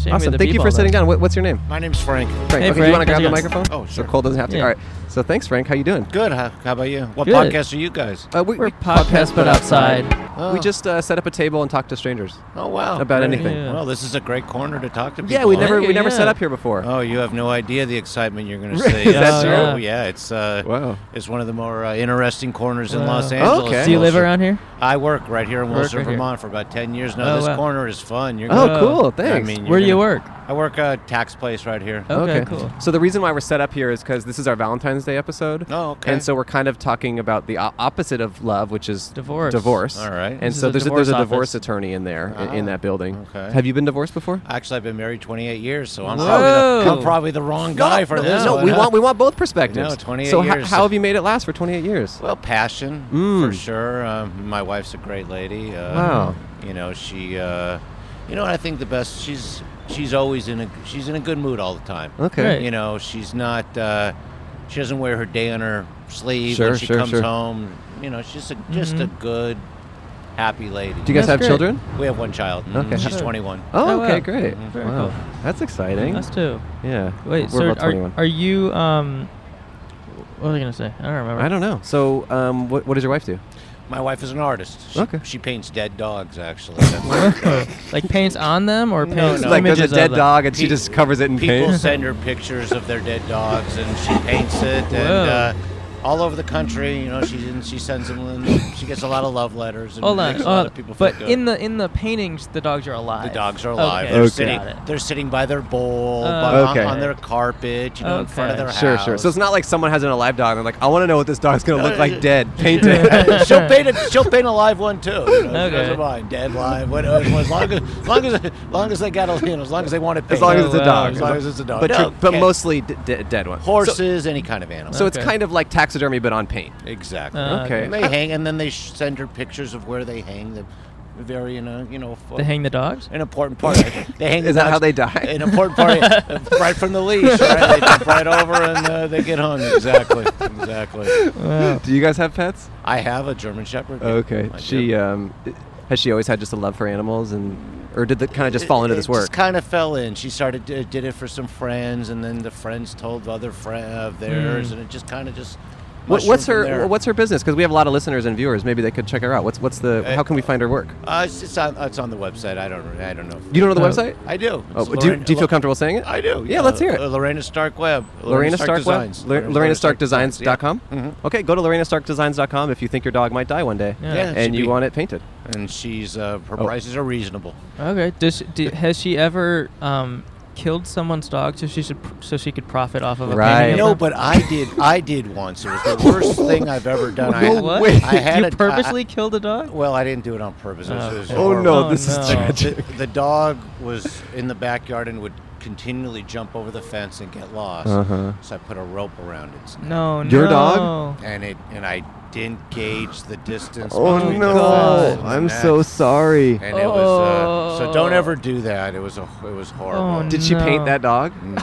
S4: Shame
S2: awesome.
S4: the
S2: Thank you for
S4: people,
S2: sitting
S4: though.
S2: down. What, what's your name?
S9: My name's Frank.
S2: Frank.
S4: Hey,
S2: okay, you
S4: Frank,
S2: want to grab
S4: how's
S2: the
S4: it going?
S2: microphone?
S9: Oh,
S2: So
S9: sure.
S2: Cole doesn't have to.
S4: Yeah.
S2: All right. So thanks, Frank. How you doing?
S9: Good. How, how about you? What
S4: Good.
S9: podcasts are you guys?
S2: Uh, we,
S4: We're
S2: we-
S4: podcast, but outside.
S9: Oh.
S2: We just uh, set up a table and talked to strangers
S9: Oh wow.
S2: about anything.
S4: Yeah.
S9: Well, this is a great corner to talk to people.
S2: Yeah, we
S9: on.
S2: never
S4: you,
S2: we never set
S4: yeah.
S2: up here before.
S9: Oh, you have no idea the excitement you're going to
S2: Really?
S9: see.
S2: Is that
S9: Oh,
S4: true?
S9: yeah. Yeah, it's uh,
S2: Wow.
S9: it's one of the more uh, interesting corners in
S4: Wow.
S9: Los Angeles.
S2: Okay.
S4: Do you live
S9: Wilshire.
S4: around here?
S9: I work right here in
S4: Work
S9: Wilshire,
S4: right here.
S9: Vermont, for about ten years now.
S4: Oh,
S9: this
S4: wow.
S9: corner is fun. You're
S2: Oh,
S9: gonna,
S2: cool.
S4: I
S2: Thanks. Oh.
S9: mean,
S4: Where do you
S9: gonna-
S4: work?
S9: I work a tax place right here.
S4: Okay, cool.
S2: So the reason why we're set up here is because this is our Valentine's Day episode.
S9: Oh, okay.
S2: And so we're kind of talking about the o- opposite of love, which is
S4: Divorce.
S2: Divorce.
S9: All right.
S2: And
S4: This
S2: so
S4: is a
S2: there's a, there's a
S4: divorce
S2: divorce
S4: office.
S2: attorney in there i- in,
S9: Ah,
S2: that building.
S9: okay.
S2: Have you been divorced before?
S9: Actually, I've been married 28 years, so I'm,
S4: Whoa.
S9: probably the, I'm probably the wrong guy for
S2: no,
S9: this.
S2: No,
S9: one,
S2: we
S9: huh?
S2: want we want both perspectives.
S9: No, 28
S2: so ho-
S9: years.
S2: how have you made it last for 28 years?
S9: Well, passion
S2: Mm.
S9: for sure. Um, my wife's a great lady. Uh,
S2: Wow.
S9: You know she, uh, you know, I think the best. She's she's always in a she's in a good mood all the time.
S2: Okay.
S4: Great.
S9: You know, she's not. Uh, she doesn't wear her day on her sleeve
S2: Sure,
S9: when she
S2: sure,
S9: comes
S2: sure.
S9: home. You know, she's just a, just a good, happy lady.
S2: Do you
S4: That's
S2: guys have
S4: great.
S2: children?
S9: we have one child. Mhm.
S2: Okay.
S9: She's
S2: Sure.
S9: 21.
S2: Oh,
S4: Oh,
S2: okay,
S4: wow.
S2: great.
S4: Very
S2: wow.
S4: cool.
S2: That's exciting.
S4: Us too.
S2: yeah.
S4: Wait,
S2: we're
S4: so
S2: about 21.
S4: are, are you um? What was I gonna say? I don't remember.
S2: I don't know. So, um, what, what does your wife do?
S9: My wife is an artist. She,
S2: Okay.
S9: she paints dead dogs. Actually, That's-
S4: like paints on them or
S9: No,
S4: paints
S9: no.
S2: like there's
S4: images
S2: a
S4: of
S2: dead
S4: them?
S2: dog, and she
S9: Pe-
S2: just covers it in
S9: people
S2: paint.
S9: send her pictures of their dead dogs and she paints it
S4: Whoa.
S9: and uh, all over the country you know she and she sends them and she gets a lot of love letters and
S4: Hold on.
S9: makes a lot
S4: uh,
S9: of people feel
S4: but
S9: good.
S4: in the in the paintings, the dogs are alive.
S9: the dogs are alive
S4: Okay,
S9: they're,
S2: Okay.
S9: sitting,
S4: got it.
S9: they're sitting by their bowl by,
S4: Oh,
S9: on-
S2: Okay.
S9: on, their carpet you know in front of
S4: Okay.
S9: their
S2: Sure,
S9: house
S2: sure. So it's not like someone has an alive dog and they're like, I want to know what this dog's gonna look
S9: Uh,
S2: like dead. Paint it.
S9: Uh, she'll paint a she'll paint a live one too. You know,
S4: Okay.
S9: okay. Mine, dead live, whatever. As long as, as long as, as long as they got a, you know, as long as they want it painted.
S2: as long as it's a
S4: Oh, wow.
S2: dog.
S9: As long as it's a dog.
S2: But
S9: No,
S2: you're- but
S9: cat-
S2: mostly d- d- dead ones. So,
S9: horses, any kind of animal.
S2: so it's
S4: Okay.
S2: kind of like taxidermy, but on paint.
S9: Exactly.
S4: Uh,
S2: Okay.
S9: And they hang, and then they sh- send her pictures of where they hang the very, you know, you know, f-
S4: They hang the dogs.
S9: an important part. of it. They hang.
S2: Is
S9: the
S2: that how
S9: dogs-
S2: they die?
S9: An important part, uh, right from the leash. Right? They jump right over and uh, they get hung. Exactly. Exactly.
S2: Do you guys have pets?
S9: I have a German Shepherd.
S2: Okay.
S9: I do.
S2: She um, has she always had just a love for animals, and or did that kind of just fall into
S9: It-
S2: this
S9: it
S2: work?
S9: Just kind of fell in. She started uh, did it for some friends, and then the friends told other friend of theirs, and it just kind of just.
S2: What,
S9: mushroomed
S2: Hmm. what's
S9: from
S2: her
S9: there.
S2: What's her business? Because we have a lot of listeners and viewers. Maybe they could check her out. What's What's the
S9: Uh,
S2: How can we find her work?
S9: Uh, it's, it's on. It's on the website. I don't. I don't know.
S2: You don't know the
S4: Uh,
S2: website?
S9: I do.
S2: Oh,
S9: It's
S2: do, you-
S9: Lorraine-
S2: do you feel comfortable saying it?
S9: I do.
S2: Yeah, let's hear it.
S9: Uh, Lorena Stark Web.
S2: Lorena Stark, Web.
S9: Designs.
S2: Lor- Lorena Stark
S9: yeah.
S2: Designs.com?
S9: Mhm.
S2: Okay, go to lorenastarkdesigns.com if you think your dog might die one day
S4: Yeah.
S9: Yeah, it should
S2: and you
S9: be.
S2: want it painted.
S9: And she's uh, her
S2: Oh.
S9: prices are reasonable.
S4: Okay. Does she, do, has she ever um killed someone's dog so she should pr- so she could profit off of a
S2: Right.
S4: painting? of
S9: No,
S4: them?
S9: but I did. I did once. It was the worst thing I've ever done. I,
S4: What?
S9: I had
S4: you
S9: a- I-
S4: purposely killed a dog?
S9: well, I didn't do it on purpose. It was- it was
S4: Oh,
S9: horrible. Um,
S4: no, this is no.
S9: The, the dog was in the backyard and would continually jump over the fence and get lost.
S2: Uh-huh.
S9: So I put a rope around its neck.
S4: No.
S2: Your
S4: no.
S2: dog?
S9: and it and I didn't gauge the distance.
S2: Oh,
S9: between
S2: no.
S9: the fence and the
S2: I'm
S9: net.
S2: so sorry.
S9: And it was uh, so don't ever do that. It was a it was horrible.
S4: Oh,
S2: Did she paint
S4: No.
S2: that dog?
S9: No.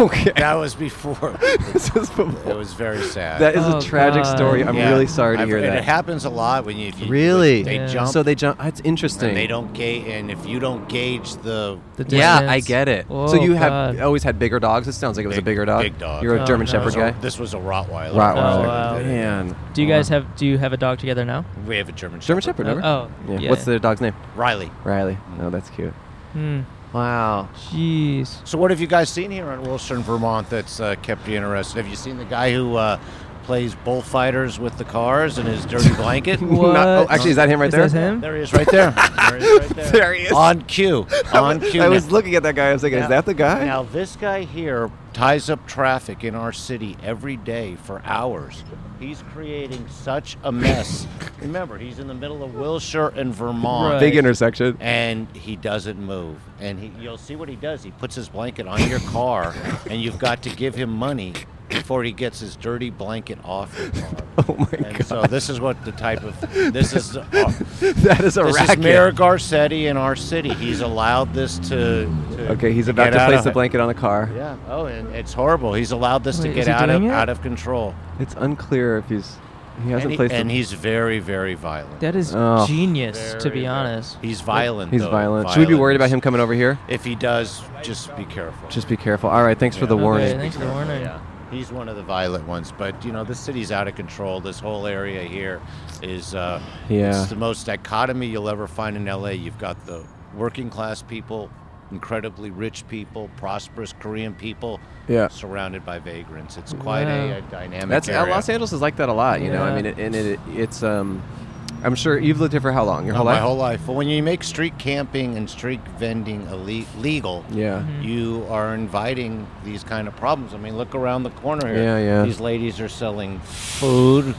S2: okay.
S9: that was before.
S2: This is
S9: It
S2: before-
S9: was very sad.
S2: that is
S4: Oh,
S2: a tragic
S4: God.
S2: story. I'm
S9: Yeah.
S2: really sorry to
S9: I've-
S2: hear
S9: and It
S2: that.
S9: happens a lot when you, if you
S2: Really?
S9: they
S4: Yeah.
S9: jump.
S2: So they jump. It's interesting.
S9: and they don't gauge, and if you don't gauge the
S4: The
S2: yeah, I
S4: distance.
S2: get it. so
S4: Oh,
S2: you
S4: God.
S2: have always had bigger dogs. It sounds like it was a
S9: Big-
S2: bigger dog.
S9: big dog.
S2: You're a
S4: Oh,
S2: German
S4: no.
S2: Shepherd
S9: So
S2: guy.
S9: This was a Rottweiler.
S2: Rottweiler.
S4: Oh, wow.
S2: Man.
S4: Do you guys have do you have a dog together now?
S9: We have a German
S2: German
S9: Shepherd.
S2: Shepherd? Remember?
S4: Oh.
S2: Yeah.
S4: yeah.
S2: What's the dog's name?
S9: Riley.
S2: Riley. Oh, that's cute.
S4: Hmm.
S2: Wow.
S4: Jeez.
S9: So, what have you guys seen here in Wilson, Vermont that's uh, kept you interested? Have you seen the guy who uh, plays bullfighters with the cars and his dirty blanket?
S4: What?
S2: oh, actually, is that him right
S4: Is that
S2: there?
S4: him?
S9: There he is right there. There he is right there.
S2: There he is.
S9: On cue. On cue.
S2: I
S9: Now-
S2: was looking at that guy. I was thinking,
S9: now-
S2: is that the guy?
S9: Now, this guy here ties up traffic in our city every day for hours. He's creating such a mess. Remember, he's in the middle of Wilshire and Vermont.
S4: Right.
S2: Big intersection.
S9: and he doesn't move. And he, you'll see what he does. He puts his blanket on your car, and you've got to give him money before he gets his dirty blanket off your car.
S2: Oh my
S9: and
S2: god.
S9: so this is what the type of this is uh,
S2: that is a
S9: this
S2: racket.
S9: is Mayor Garcetti in our city. He's allowed this to. to
S2: okay, he's
S9: to
S2: about
S9: get
S2: to
S9: out
S2: place
S9: of
S2: the
S9: it.
S2: blanket on a car.
S9: Yeah. Oh, and it's horrible. He's allowed this
S4: Wait,
S9: to
S4: is
S9: get
S4: he
S9: out of
S4: doing it?
S9: out of control.
S2: It's unclear if he's he hasn't
S9: and, he-
S2: placed.
S9: and
S2: the,
S9: he's very, very violent.
S4: That is
S2: Oh.
S4: genius, to
S9: Very
S4: be
S9: violent.
S4: honest.
S9: He's violent.
S2: he's
S9: though.
S2: violent. Should we be worried about him coming over here?
S9: If he does, just be careful.
S2: Just be careful. All right, thanks for the
S4: Okay,
S2: warning.
S4: thanks for the warning.
S9: Yeah, he's one of the violent ones. But you know, this city's out of control. This whole area here is uh,
S2: Yeah.
S9: it's the most dichotomy you'll ever find in LA. You've got the working class people, incredibly rich people, prosperous Korean people,
S2: Yeah.
S9: surrounded by vagrants. It's quite
S4: Yeah.
S9: a, a dynamic.
S2: That's uh,
S9: area.
S2: Los Angeles is like that a lot. You know, I
S4: Yeah.
S2: mean, it, and it, it's um, I'm sure you've lived here for how long? Your
S9: Uh,
S2: whole
S9: my
S2: life.
S9: whole life. But when you make street camping and street vending elite, legal,
S2: yeah.
S9: you are inviting these kind of problems. I mean, look around the corner here.
S2: Yeah, yeah.
S9: These ladies are selling food,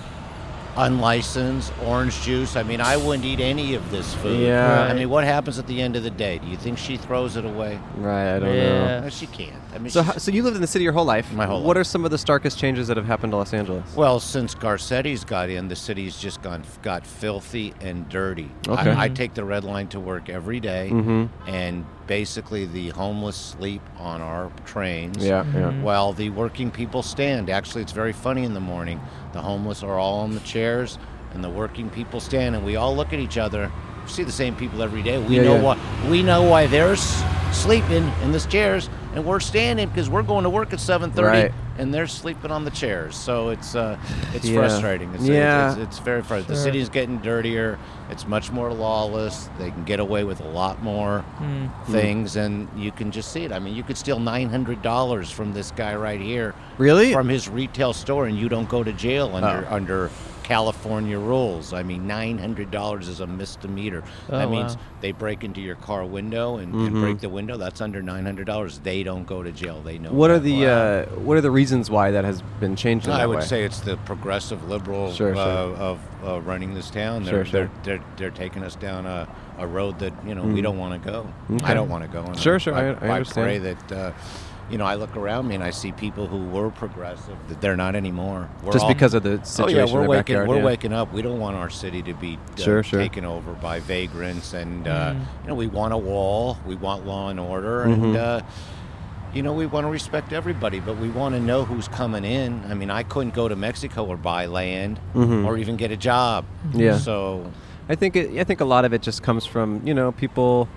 S9: unlicensed orange juice. I mean, I wouldn't eat any of this food.
S2: Yeah.
S9: I mean, what happens at the end of the day? Do you think she throws it away?
S2: Right. I don't know.
S4: Yeah.
S9: No, she can't. I mean,
S2: So,
S9: she's-
S2: ho- so you lived in the city your whole life.
S9: My whole
S2: What
S9: life.
S2: are some of the starkest changes that have happened to Los Angeles?
S9: Well, since Garcetti's got in, the city's just gone got filthy and dirty.
S2: Okay. Mm-hmm.
S9: I, I take the red line to work every day,
S2: Mhm.
S9: and basically the homeless sleep on our trains.
S2: Yeah, yeah.
S9: While the working people stand. Actually, it's very funny in the morning. The homeless are all on the chairs, and the working people stand, and we all look at each other. We see the same people every day. We
S2: Yeah,
S9: know
S2: yeah.
S9: why. We know why they're s- sleeping in the chairs, and we're standing because we're going to work at seven thirty
S2: Right.
S9: and they're sleeping on the chairs. So it's uh, it's
S2: Yeah.
S9: frustrating. It's,
S2: Yeah.
S9: it's, it's, very frustrating. The
S4: Sure.
S9: city's getting dirtier. It's much more lawless. They can get away with a lot more
S2: Hmm.
S4: Mm.
S9: things, and you can just see it. I mean, you could steal nine hundred dollars from this guy right here
S2: Really? Oh.
S9: from his retail store, and you don't go to jail under under. California rules. I mean, nine hundred dollars is a misdemeanor.
S4: Oh,
S9: that means
S4: wow.
S9: they break into your car window and, and
S2: Mm-hmm.
S9: break the window. That's under nine hundred dollars. They don't go to jail. They know.
S2: What are
S9: that
S2: the
S9: law.
S2: uh, What are the reasons why that has been changed? In
S9: I
S2: that
S9: would
S2: way?
S9: say it's the progressive liberal
S2: Sure,
S9: uh,
S2: sure.
S9: of uh, running this town.
S2: Sure, sure.
S9: They're,
S2: Mm.
S9: They're, they're they're taking us down a, a road that you know we don't want to go.
S2: Okay.
S9: I don't want to go. And
S2: Sure, sure, I- I
S9: pray
S2: understand.
S9: that uh, you know I look around me and I see people who were progressive that they're not anymore. We're
S2: just
S9: all-
S2: because of the
S9: Oh
S2: situation.
S9: yeah,
S2: in
S9: we're
S2: their
S9: waking.
S2: backyard,
S9: we're
S2: yeah.
S9: waking up. We don't want our city to be uh,
S2: Sure, sure. Mm-hmm.
S9: taken over by vagrants, and uh, you know we want a wall. We want law and order, and uh, you know we want to respect everybody, but we want to know who's coming in. I mean, I couldn't go to Mexico or buy land or even get a job.
S2: Mm-hmm. Yeah.
S9: So
S2: I think it, I think a lot of it just comes from you know people.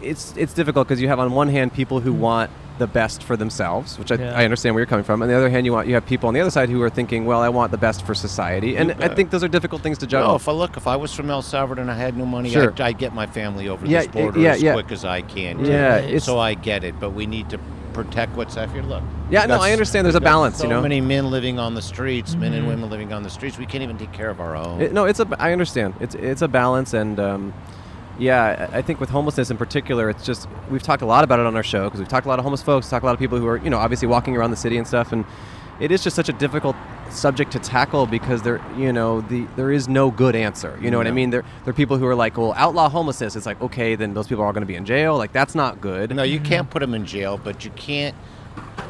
S2: It's it's difficult because you have on one hand people
S9: Mm-hmm.
S2: who want the best for themselves, which I,
S4: Yeah.
S2: I understand where you're coming from. On the other hand, you want you have people on the other side who are thinking, well, I want the best for society, and I think those are difficult things to
S9: no,
S2: juggle.
S9: if I look, if I was from El Salvador and I had no money,
S2: Sure.
S9: I'd, I'd get my family over
S2: Yeah,
S9: this border
S2: yeah,
S9: as
S2: yeah.
S9: quick as I can. too.
S2: yeah, it's
S9: so I get it, but we need to protect what's out here. Look.
S2: yeah. No,
S9: that's-
S2: I understand. There's a
S9: There's
S2: balance,
S9: so
S2: you know. Mm-hmm.
S9: many men living on the streets, men and women living on the streets. We can't even take care of our own.
S2: It- no, it's a. I understand. It's it's a balance, and um, yeah, I I think with homelessness in particular, it's just we've talked a lot about it on our show because we've talked a lot of homeless folks, talked a lot of people who are you know obviously walking around the city and stuff, and it is just such a difficult subject to tackle because there you know the there is no good answer. You know what I
S9: No.
S2: mean? There there are people who are like, well, outlaw homelessness. It's like okay, then those people are all going to be in jail. Like that's not good.
S9: no, you can't put them in jail, but you can't.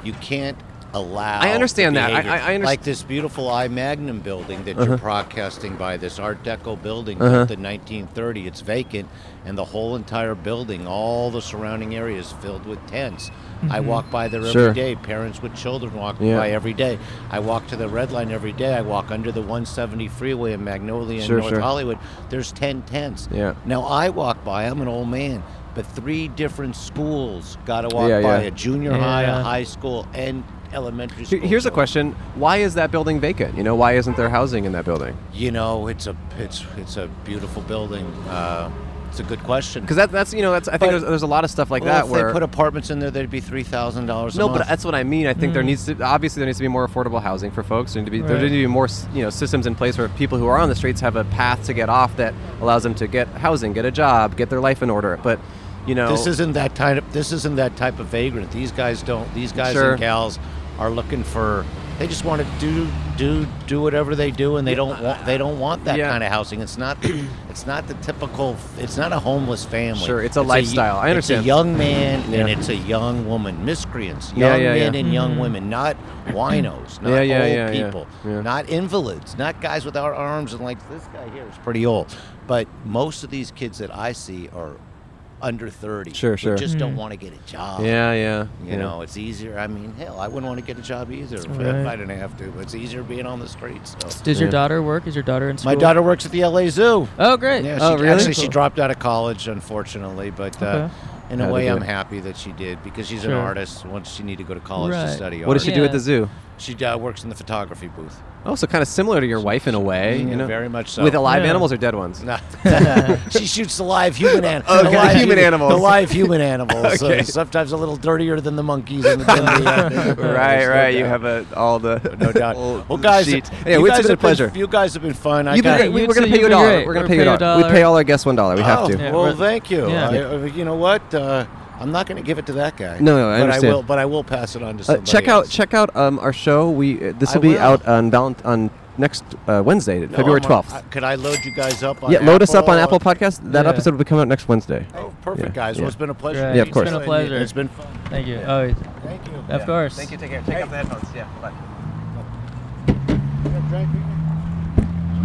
S9: You can't allow.
S2: I understand
S9: the
S2: that. I-
S9: behavior.
S2: I- I underst-
S9: Like this beautiful I Magnum building that you're broadcasting by, this Art Deco building
S2: Uh-huh.
S9: built in 1930. It's vacant, and the whole entire building, all the surrounding area, is filled with tents. I walk by there
S2: Mm-hmm. Sure.
S9: every day. Parents with children walk
S2: Yeah.
S9: by every day. I walk to the Red Line every day. I walk under the 170 freeway in Magnolia
S2: Sure,
S9: and North
S2: sure.
S9: Hollywood. There's 10 tents.
S2: Yeah.
S9: Now I walk by. I'm an old man, but three different schools got to walk
S2: Yeah,
S9: by
S2: yeah.
S9: a junior high,
S4: Yeah.
S9: a high school, and elementary
S2: Here-
S9: school.
S2: Here's a
S9: So,
S2: question: Why is that building vacant? You know, why isn't there housing in that building?
S9: You know, it's a it's it's a beautiful building. Uh, That's a good question.
S2: Because that, that's you know that's I think
S9: But-
S2: there's, there's a lot of stuff like
S9: Well,
S2: that
S9: if
S2: where
S9: they put apartments in there, there'd be three thousand dollars.
S2: no,
S9: month.
S2: but that's what I mean. I think there needs to obviously there needs to be more affordable housing for folks. There need to be there
S4: Right.
S2: need to be more s- you know systems in place where people who are on the streets have a path to get off that allows them to get housing, get a job, get their life in order. But you know
S9: This isn't that type. Of, this isn't that type of vagrant. These guys don't. These guys
S2: Sure.
S9: and gals are looking for. They just want to do do do whatever they do, and they don't want they don't want that
S2: Yeah.
S9: kind of housing. It's not it's not the typical. It's not a homeless family.
S2: Sure, it's a
S9: y-
S2: lifestyle. I
S9: It's
S2: understand.
S9: a young man and
S2: Yeah.
S9: it's a young woman. Miscreants, young
S2: Yeah, yeah,
S9: men
S2: yeah.
S9: and young women, not winos, not
S2: Yeah, yeah,
S9: old
S2: yeah, yeah,
S9: people,
S2: yeah.
S9: not invalids, not guys without arms and like this guy here is pretty old. But most of these kids that I see are under 30
S2: Sure,
S9: who
S2: sure.
S9: just don't
S4: Mm.
S9: want to get a job
S2: yeah yeah
S9: you
S2: yeah.
S9: know it's easier i mean hell i wouldn't want to get a job either if, if
S4: Right.
S9: i didn't have to but it's easier being on the streets so.
S4: Does your
S2: Yeah.
S4: daughter work? Is your daughter in school?
S9: my daughter works at the la zoo
S4: Oh, great.
S9: yeah, she,
S4: oh, really?
S9: actually she
S4: Cool.
S9: dropped out of college unfortunately but uh,
S4: Okay.
S9: in a
S2: Had to
S9: way
S2: do
S9: i'm
S2: it.
S9: happy that she did because she's an
S4: Sure.
S9: artist once she needed to go to college to
S4: Right.
S9: study
S2: What does she
S9: art
S2: do at
S4: Yeah.
S2: the zoo?
S9: she uh, works in the photography booth
S2: Oh, so kind of similar to your wife in a way,
S9: Yeah,
S2: you know,
S9: very much so
S2: with alive
S4: Yeah.
S2: animals or dead ones.
S9: No. she shoots the live human animals.
S2: Okay, human animals.
S9: The live human animals. uh,
S2: Okay.
S9: sometimes a little dirtier than the monkeys. And the, than the, uh,
S2: right,
S9: no
S2: right. You
S9: doubt.
S2: have a, all the
S9: No doubt.
S2: whole
S9: Well, guys,
S2: sheet.
S9: you
S2: Anyway, it's
S9: guys
S2: been a
S9: have
S2: pleasure.
S9: you guys have been fun. I
S2: You've been
S9: got-
S2: great.
S4: you
S2: We- We're
S4: too,
S2: gonna pay
S4: you've
S2: you a
S4: been
S2: dollar.
S4: great.
S2: We're gonna
S4: We're
S2: pay you a
S4: gonna pay
S2: dollar.
S4: you a
S2: We
S4: dollar.
S2: pay all our guests one dollar. We have
S9: Oh,
S2: to.
S4: Yeah,
S9: well,
S4: we're-
S9: thank you.
S4: yeah.
S9: I- I- you know what? Uh, I'm not going to give it to that guy.
S2: No, no, I
S9: but
S2: understand.
S9: I will, but I will pass it on to
S2: Uh,
S9: somebody.
S2: check out
S9: else.
S2: check out um, our show. We uh, this
S9: I
S2: will be
S9: will.
S2: out on valent- on next uh, Wednesday,
S9: No,
S2: February
S9: I'm on-
S2: twelfth.
S9: I- could I load you guys up? on
S2: yeah, load us up on
S9: Apple
S2: Apple Podcasts. That
S4: Yeah.
S2: episode will be coming out next Wednesday.
S9: Oh, perfect,
S2: Yeah,
S9: guys.
S2: yeah.
S9: Well, it's been a pleasure.
S4: Great.
S2: Yeah, of course.
S4: It's been a pleasure.
S9: It's been fun.
S4: Thank you. Oh, yeah.
S9: Thank you.
S4: of course.
S2: Take care. Take off the headphones. Yeah. Bye.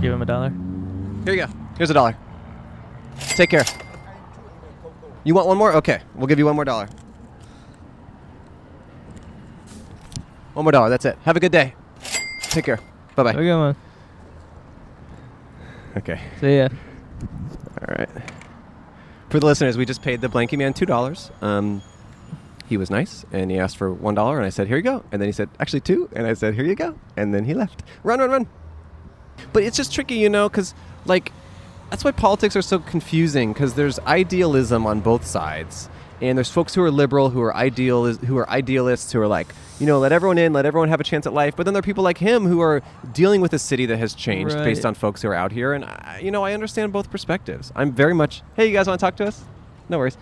S4: Give him a dollar.
S2: Here you go. Here's a dollar. Take care. You want one more? Okay, we'll give you one more dollar. One more dollar. That's it. Have a good day. Take care. Bye
S4: Have a
S2: bye.
S4: good one.
S2: Okay.
S4: See ya.
S2: All right. For the listeners, we just paid the Blanky Man two dollars. Um, he was nice, and he asked for one dollar, and I said, "Here you go." And then he said, "Actually, two. And I said, "Here you go." And then he left. Run, run, run. But it's just tricky, you know, because like that's why politics are so confusing. Because there's idealism on both sides, and there's folks who are liberal, who are ideal, who are idealists, who are like, you know, let everyone in, let everyone have a chance at life. But then there are people like him who are dealing with a city that has changed
S4: Right.
S2: based on folks who are out here, and I, you know, I understand both perspectives. I'm very much, hey, you guys want to talk to us? No worries.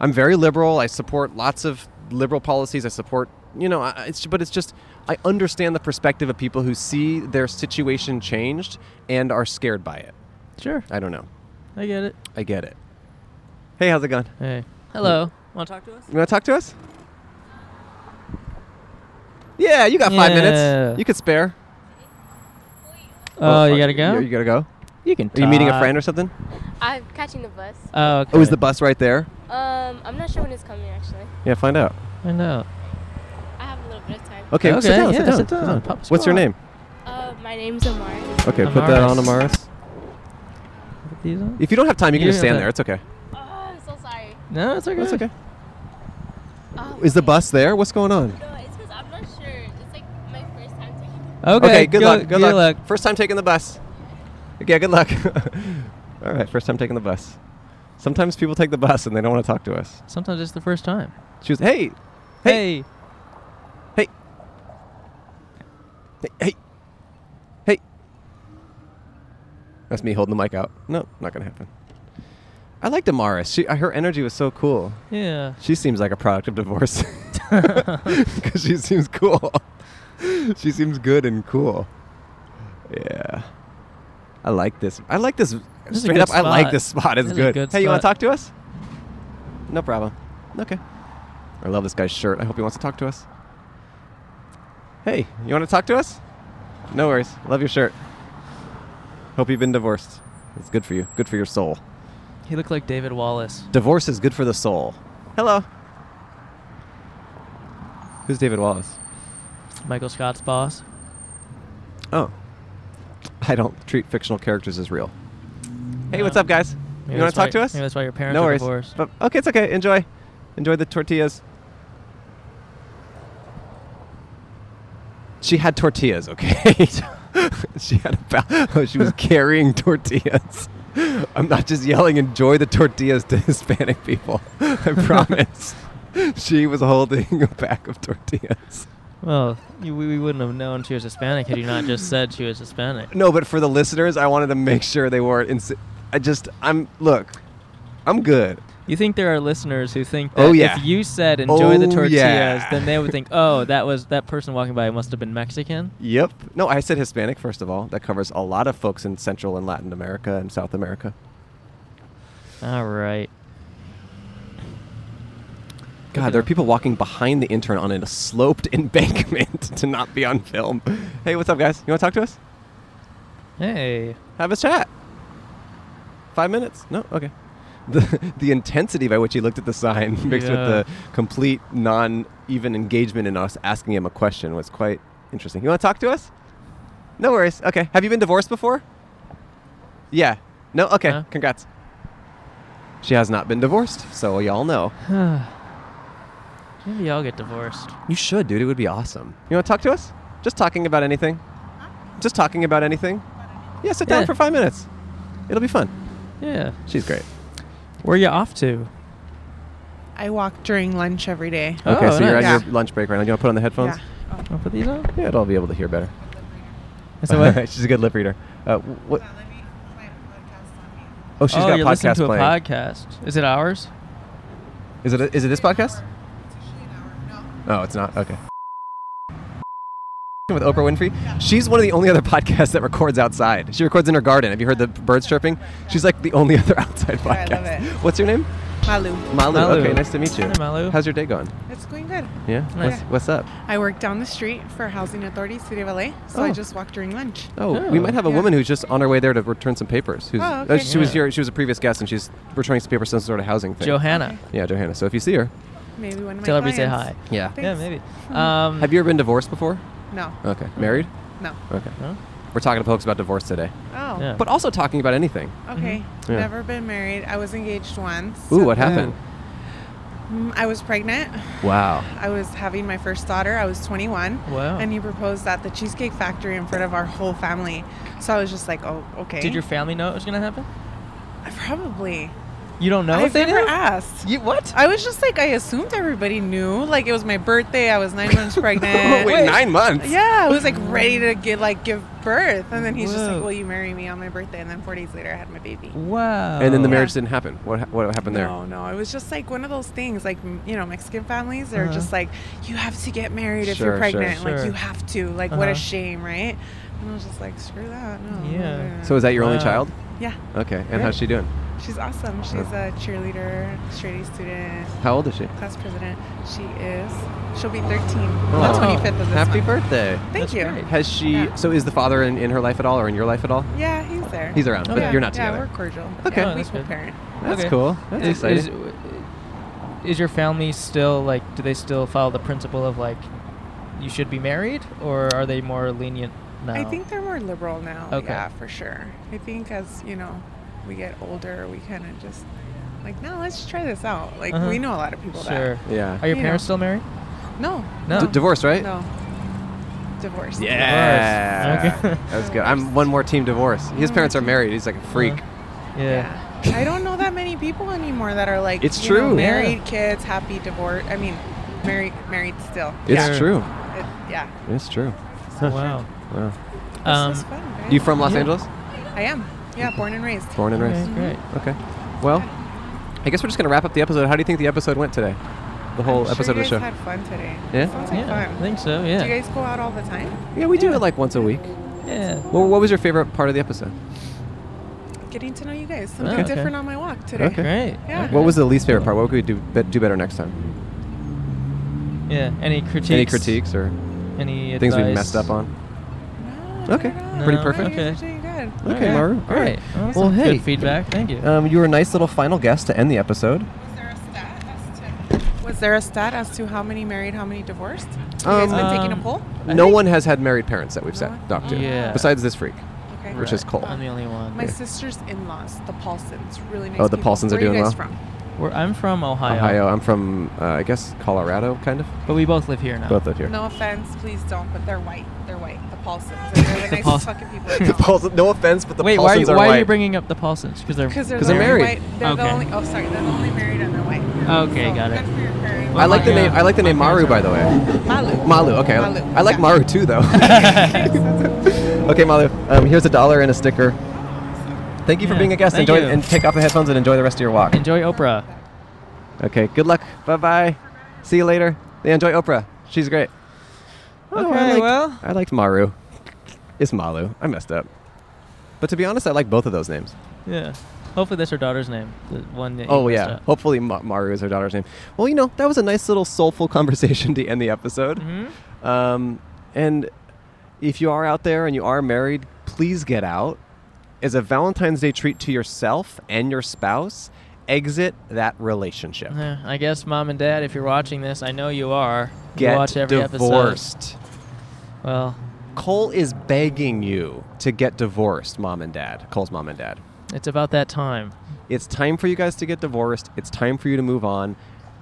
S2: I'm very liberal. I support lots of liberal policies. I support, you know, I- it's but it's just I understand the perspective of people who see their situation changed and are scared by it.
S4: Sure.
S2: I don't know.
S4: I get it.
S2: I get it. Hey, how's it going?
S4: Hey. Hello. Want to talk to us?
S2: You want to talk to us? Yeah, you got five
S4: Yeah.
S2: minutes. You could spare.
S4: Oh,
S2: fuck.
S4: you gotta go?
S2: You, you gotta go.
S4: You can
S2: Are you meeting a friend or something?
S7: I'm catching the bus.
S4: Oh, okay.
S2: Oh, is the bus right there?
S7: Um, I'm not sure when it's coming actually.
S2: Yeah, find out.
S4: Find out.
S7: I have a little bit of time.
S2: Okay,
S4: Okay,
S2: sit down.
S4: yeah,
S2: sit down.
S4: sit down. Pop the
S2: What's your
S4: spot.
S2: name?
S7: Uh, my name's Amari.
S2: Okay, put that on,
S4: Amaris.
S2: Amaris.
S4: Put these on?
S2: If you don't have time, you can
S4: You
S2: just
S4: have
S2: stand
S4: that.
S2: there. It's okay.
S7: Oh, I'm so sorry.
S4: No, it's okay.
S2: That's okay.
S7: Oh,
S2: Is the
S7: wait.
S2: bus there? What's going on?
S7: No, it's because I'm not sure. It's like my first time taking the
S4: Okay.
S2: good
S4: go-
S2: luck. Good, luck. First time taking the bus. Yeah, good luck. All right, first time taking the bus. Sometimes people take the bus and they don't want to talk to us.
S4: Sometimes it's the first time.
S2: She was, hey,
S4: Hey.
S2: hey, hey, hey, hey, hey. That's me holding the mic out. No, not gonna happen. I liked Amaris. She, her energy was so cool.
S4: Yeah.
S2: She seems like a product of divorce. Because she seems cool. she seems good and cool. Yeah. I like this. I like this.
S4: This is a
S2: straight
S4: good
S2: up, I like
S4: spot.
S2: this spot. It's
S4: This is a
S2: good.
S4: good
S2: Hey, you want to
S4: spot.
S2: talk to us? No problem. Okay. I love this guy's shirt. I hope he wants to talk to us. Hey, you want to talk to us? No worries. Love your shirt. Hope you've been divorced. It's good for you. Good for your soul.
S4: He looked like David Wallace.
S2: Divorce is good for the soul. Hello. Who's David Wallace?
S4: Michael Scott's boss.
S2: Oh. I don't treat fictional characters as real. Hey, what's
S4: No.
S2: up, guys?
S4: Maybe
S2: you
S4: that's
S2: want to talk
S4: why-
S2: to us?
S4: Maybe that's why your parents
S2: no
S4: are
S2: worries.
S4: divorced.
S2: But, okay, it's okay. Enjoy. Enjoy the tortillas. She had tortillas, okay? she had a ba- oh, she was carrying tortillas. I'm not just yelling enjoy the tortillas to Hispanic people. I promise. she was holding a pack of tortillas.
S4: Well, you, we, we wouldn't have known she was Hispanic had you not just said she was Hispanic.
S2: No, but for the listeners, I wanted to make sure they weren't. Ins- I just, I'm, look, I'm good.
S4: You think there are listeners who think that
S2: Oh, yeah.
S4: if you said enjoy the
S2: Oh,
S4: tortillas,
S2: yeah.
S4: then they would think, oh, that was that person walking by must have been Mexican.
S2: Yep. No, I said Hispanic, first of all. That covers a lot of folks in Central and Latin America and South America.
S4: All right.
S2: God, there are people walking behind the intern on a sloped embankment to not be on film. Hey, what's up, guys? You want to talk to us?
S4: Hey.
S2: Have a chat. Five minutes? No? Okay. The, the intensity by which he looked at the sign mixed
S4: Yeah.
S2: with the complete non even engagement in us asking him a question was quite interesting. You want to talk to us? No worries. Okay. Have you been divorced before? Yeah. No? Okay.
S4: No.
S2: Congrats. She has not been divorced, so y'all know.
S4: Maybe I'll get divorced.
S2: You should, dude. It would be awesome. You want to talk to us? Just talking about anything. Just talking about anything. Yeah, sit down
S4: Yeah.
S2: for five minutes. It'll be fun.
S4: Yeah.
S2: She's great.
S4: Where you off to?
S10: I walk during lunch every day.
S4: Oh,
S2: Okay, so you're on
S10: nice.
S2: your lunch break right now. Do you want to put on the headphones?
S4: I'll put these on.
S2: Yeah, it'll be able to hear better.
S4: Is that what?
S2: she's a good lip reader. Uh, wh- what? Oh, she's
S4: oh,
S2: got
S4: you're listening
S2: podcast
S4: to a
S2: playing.
S4: podcast. Is it ours?
S2: is it a, is it this podcast? Oh, it's not. Okay. With Oprah Winfrey, she's one of the only other podcasts that records outside. She records in her garden. Have you heard the birds chirping? She's like the only other outside
S10: I love
S2: podcast.
S10: it.
S2: What's your name?
S10: Malu.
S2: Malu.
S4: Malu.
S2: Okay, nice to meet you.
S4: Hi, Malu.
S2: How's your day going?
S10: It's going good.
S2: Yeah.
S4: Nice.
S2: What's, what's up?
S10: I work down the street for Housing Authority, City of LA, so I
S2: Oh.
S10: just walk during lunch.
S2: Oh, we might have a
S10: Yeah.
S2: woman who's just on her way there to return some papers. Who's,
S10: Oh,
S2: uh,
S10: okay.
S2: she was
S4: Yeah.
S2: here. She was a previous guest, and she's returning some papers, some sort of housing thing.
S4: Johanna.
S2: Yeah, Johanna. So if you see her,
S10: Maybe one of my
S4: Tell her we
S10: clients.
S4: say hi.
S2: yeah.
S4: Yeah,
S10: Thanks. Hmm.
S4: maybe. Um,
S2: Have you ever been divorced before?
S10: No,
S2: Okay. Married?
S10: no.
S2: Okay.
S4: Huh?
S2: We're talking to folks about divorce today,
S10: Oh,
S4: Yeah. Mm-hmm.
S2: but also talking about anything.
S10: okay.
S2: Yeah.
S10: Never been married. I was engaged once.
S2: Ooh, what happened?
S10: Mm, I was pregnant.
S2: Wow.
S10: I was having my first daughter. I was 21.
S4: Wow.
S10: And he proposed at the Cheesecake Factory in front of our whole family. So I was just like, oh, okay.
S4: Did your family know it was gonna happen?
S10: Probably.
S4: You don't know if
S10: I've
S4: Oh, they
S10: never
S4: knew.
S10: asked.
S4: You what?
S10: I was just like, I assumed everybody knew. Like, it was my birthday. I was nine months pregnant.
S2: nine months.
S10: Yeah, I was like ready to get like give birth, and then he's just
S4: Whoa.
S10: like, "Will you marry me on my birthday?" And then four days later, I had my baby.
S4: Wow.
S2: And then the
S10: Yeah.
S2: marriage didn't happen. What ha- what happened there?
S10: No, no, it was just like one of those things. Like m- you know, Mexican families they're
S4: Uh-huh.
S10: just like, "You have to get married if
S2: Sure,
S10: you're
S2: sure,
S10: pregnant.
S4: sure.
S10: Like you have to. Like what
S4: Uh-huh.
S10: a shame, right?" And I was just like, "Screw that." No. I'm not
S4: Yeah.
S10: gonna-
S2: So is that your only
S4: Wow.
S2: child?
S10: yeah,
S2: Okay. And
S10: Right.
S2: how's she doing?
S10: she's awesome. She's
S2: Oh.
S10: a cheerleader, straight A student,
S2: How old is she?
S10: class president. She is. She'll be 13
S2: Oh.
S10: on the 25th of this
S2: Happy
S10: month.
S2: birthday.
S10: Thank you.
S2: Has she?
S10: Yeah.
S2: So is the father in, in her life at all, or in your life at all?
S10: Yeah, he's there.
S2: He's around, but
S10: Oh, yeah.
S2: you're not
S10: yeah,
S2: together.
S10: we're cordial.
S2: Okay.
S10: Yeah,
S4: Oh,
S10: we
S4: that's good.
S10: co-parent.
S2: That's
S4: Okay.
S2: cool. That's
S4: Is,
S2: exciting.
S4: is, is your family still like? Do they still follow the principle of like, you should be married, or are they more lenient now?
S10: I think they're more liberal now.
S4: Okay.
S10: Yeah, for sure. I think as you know, we get older, we kind of just like, no, let's try this out. Like
S4: Uh-huh.
S10: we know a lot of people
S4: Sure.
S2: yeah.
S4: Are your
S10: You
S4: parents
S10: know.
S4: still married?
S10: that no,
S4: No.
S2: D- divorce, right?
S10: no, divorced.
S2: Yeah.
S4: Okay.
S2: That's good. I'm one more team divorce. His parents are married. He's like a freak.
S4: Yeah.
S10: Yeah. I don't know that many people anymore that are like
S2: It's
S10: you know,
S2: true. Yeah.
S10: married kids, happy divorce. I mean, married, married still.
S2: It's
S4: Sure.
S2: true.
S10: It, yeah.
S2: It's true.
S4: Wow.
S2: Wow.
S10: This
S4: Um,
S10: is fun. Right?
S2: You from Los
S4: Yeah.
S2: Angeles?
S10: I am. Yeah, born and raised.
S2: Born and
S4: okay,
S2: raised.
S4: great.
S2: Okay. Well, I guess we're just gonna wrap up the episode. How do you think the episode went today? The whole
S10: I'm
S2: episode
S10: sure
S2: of the show.
S10: You guys had fun today.
S2: Yeah?
S10: Sounds like
S4: Yeah. I
S10: fun.
S4: think so. Yeah.
S10: Do you guys go out all the time?
S2: yeah, we do it like once a week.
S4: yeah.
S2: Well, what was your favorite part of the episode?
S10: Getting to know you guys. Something
S4: okay.
S10: different on my walk today.
S2: Okay.
S4: Great.
S10: Yeah.
S2: What was the least favorite part? What could we do be- do better next time?
S4: Yeah. Any critiques?
S2: Any critiques or
S4: Any
S2: things we
S4: advice?
S2: messed up on?
S10: No,
S2: Okay.
S10: I don't know.
S2: Pretty
S4: No,
S2: perfect.
S10: You guys
S4: Okay.
S10: are doing good.
S2: Okay, Maru. All right.
S4: Awesome.
S2: Well, hey.
S4: Good feedback. Thank you.
S2: Um, you were a nice little final guest to end the episode.
S10: Was there a stat as to how many married, how many divorced? You guys
S2: Um,
S10: been taking
S4: Um,
S10: a poll?
S2: no one has had married parents that we've
S10: No
S2: sat
S10: one?
S2: talked to,
S4: Yeah.
S2: besides this freak.
S10: Okay.
S2: which is cool.
S4: I'm the only one.
S10: My sister's in-laws, the Paulsons, really nice.
S2: Oh, the
S10: people.
S2: Paulsons are
S10: Where you
S2: doing
S10: guys
S2: well?
S10: From?
S4: We're, I'm from Ohio,
S2: Ohio. I'm from, uh, I guess, Colorado, kind of.
S4: but we both live here now.
S2: Both live here.
S10: No offense, please don't, but they're white. They're white. The Paulsons. and They're the,
S4: The
S10: nicest
S4: Pauls-
S10: fucking people.
S2: the Paulson, no offense, but the
S4: Wait, why are,
S2: Paulsons
S4: you,
S2: are
S4: why
S2: white.
S4: are you bringing up the Paulsons? Because they're
S10: Because they're,
S2: They're
S10: the only
S2: married.
S10: White, they're
S4: Okay.
S10: the only. Oh, sorry. They're the only married and they're white.
S4: Okay, got it.
S10: Good for your parents.
S2: I like the
S4: Yeah.
S2: name. I like the name Maru, by the way.
S10: Malu.
S2: Malu. Okay, I-
S10: Malu.
S2: I like
S10: Yeah.
S2: Maru too, though. okay, Malu. Um, here's a dollar and a sticker. Thank you for
S4: Yeah,
S2: being a guest.
S4: thank
S2: Enjoy
S4: you.
S2: and take off the headphones and enjoy the rest of your walk.
S4: Enjoy Oprah.
S2: Okay. Good luck. Bye bye. See you later. Yeah, enjoy Oprah. She's great. Oh, I
S4: Okay,
S2: liked-
S4: well.
S2: I liked Maru. It's Malu. I messed up. But to be honest, I like both of those names.
S4: Yeah. Hopefully that's her daughter's name. The one that you
S2: Oh
S4: messed
S2: yeah.
S4: up.
S2: Hopefully Ma- Maru is her daughter's name. Well, you know that was a nice little soulful conversation to end the episode.
S4: Mhm.
S2: Um, and if you are out there and you are married, please get out. As a Valentine's Day treat to yourself and your spouse, exit that relationship.
S4: Yeah, I guess mom and dad, if you're watching this, I know you are. You
S2: Get
S4: watch every
S2: divorced.
S4: episode. Well,
S2: Cole is begging you to get divorced, mom and dad. Cole's mom and dad.
S4: it's about that time.
S2: It's time for you guys to get divorced. It's time for you to move on.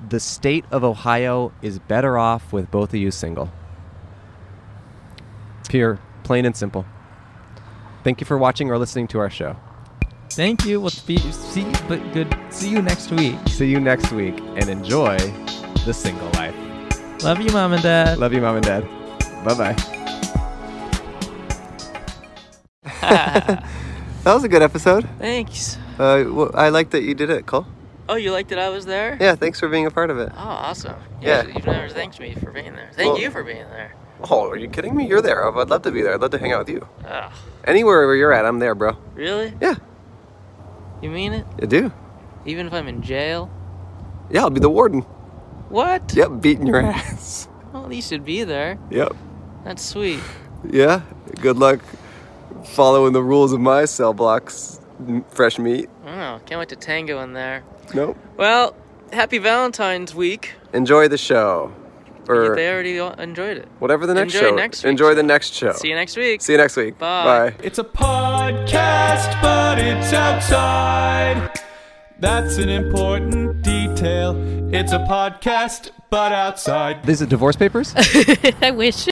S2: The state of Ohio is better off with both of you single. Pure, plain and simple. Thank you for watching or listening to our show.
S4: Thank you. We'll be, see, but good. See you next week.
S2: See you next week and enjoy the single life.
S4: Love you, mom and dad.
S2: Love you, mom and dad. Bye bye. that was a good episode.
S1: Thanks.
S2: Uh, well, I like that you did it, Cole.
S1: Oh, you liked that I was there?
S2: Yeah, thanks for being a part of it.
S1: Oh, awesome. Yeah.
S2: Yeah.
S1: You've never thanked me for being there. Thank
S2: Well-
S1: you for being there.
S2: Oh, are you kidding me? You're there. I'd love to be there. I'd love to hang out with you.
S1: Ugh,
S2: Anywhere where you're at, I'm there, bro.
S1: really?
S2: Yeah.
S1: You mean it?
S2: I do.
S1: Even if I'm in jail?
S2: Yeah, I'll be the warden.
S1: What?
S2: Yep, beating your ass.
S1: Well, at least you'd be there.
S2: Yep.
S1: That's sweet.
S2: Yeah. Good luck following the rules of my cell blocks. M- Fresh meat.
S1: Oh, can't wait to tango in there.
S2: Nope.
S1: Well, happy Valentine's week.
S2: Enjoy the show. Or
S1: they already all enjoyed it.
S2: whatever the next
S1: Enjoy
S2: show.
S1: next week's
S2: Enjoy the next show.
S1: See you next week.
S2: See you next week.
S1: Bye.
S2: Bye.
S3: It's a podcast, but it's outside. That's an important detail. It's a podcast, but outside.
S2: These are divorce papers?
S7: I wish.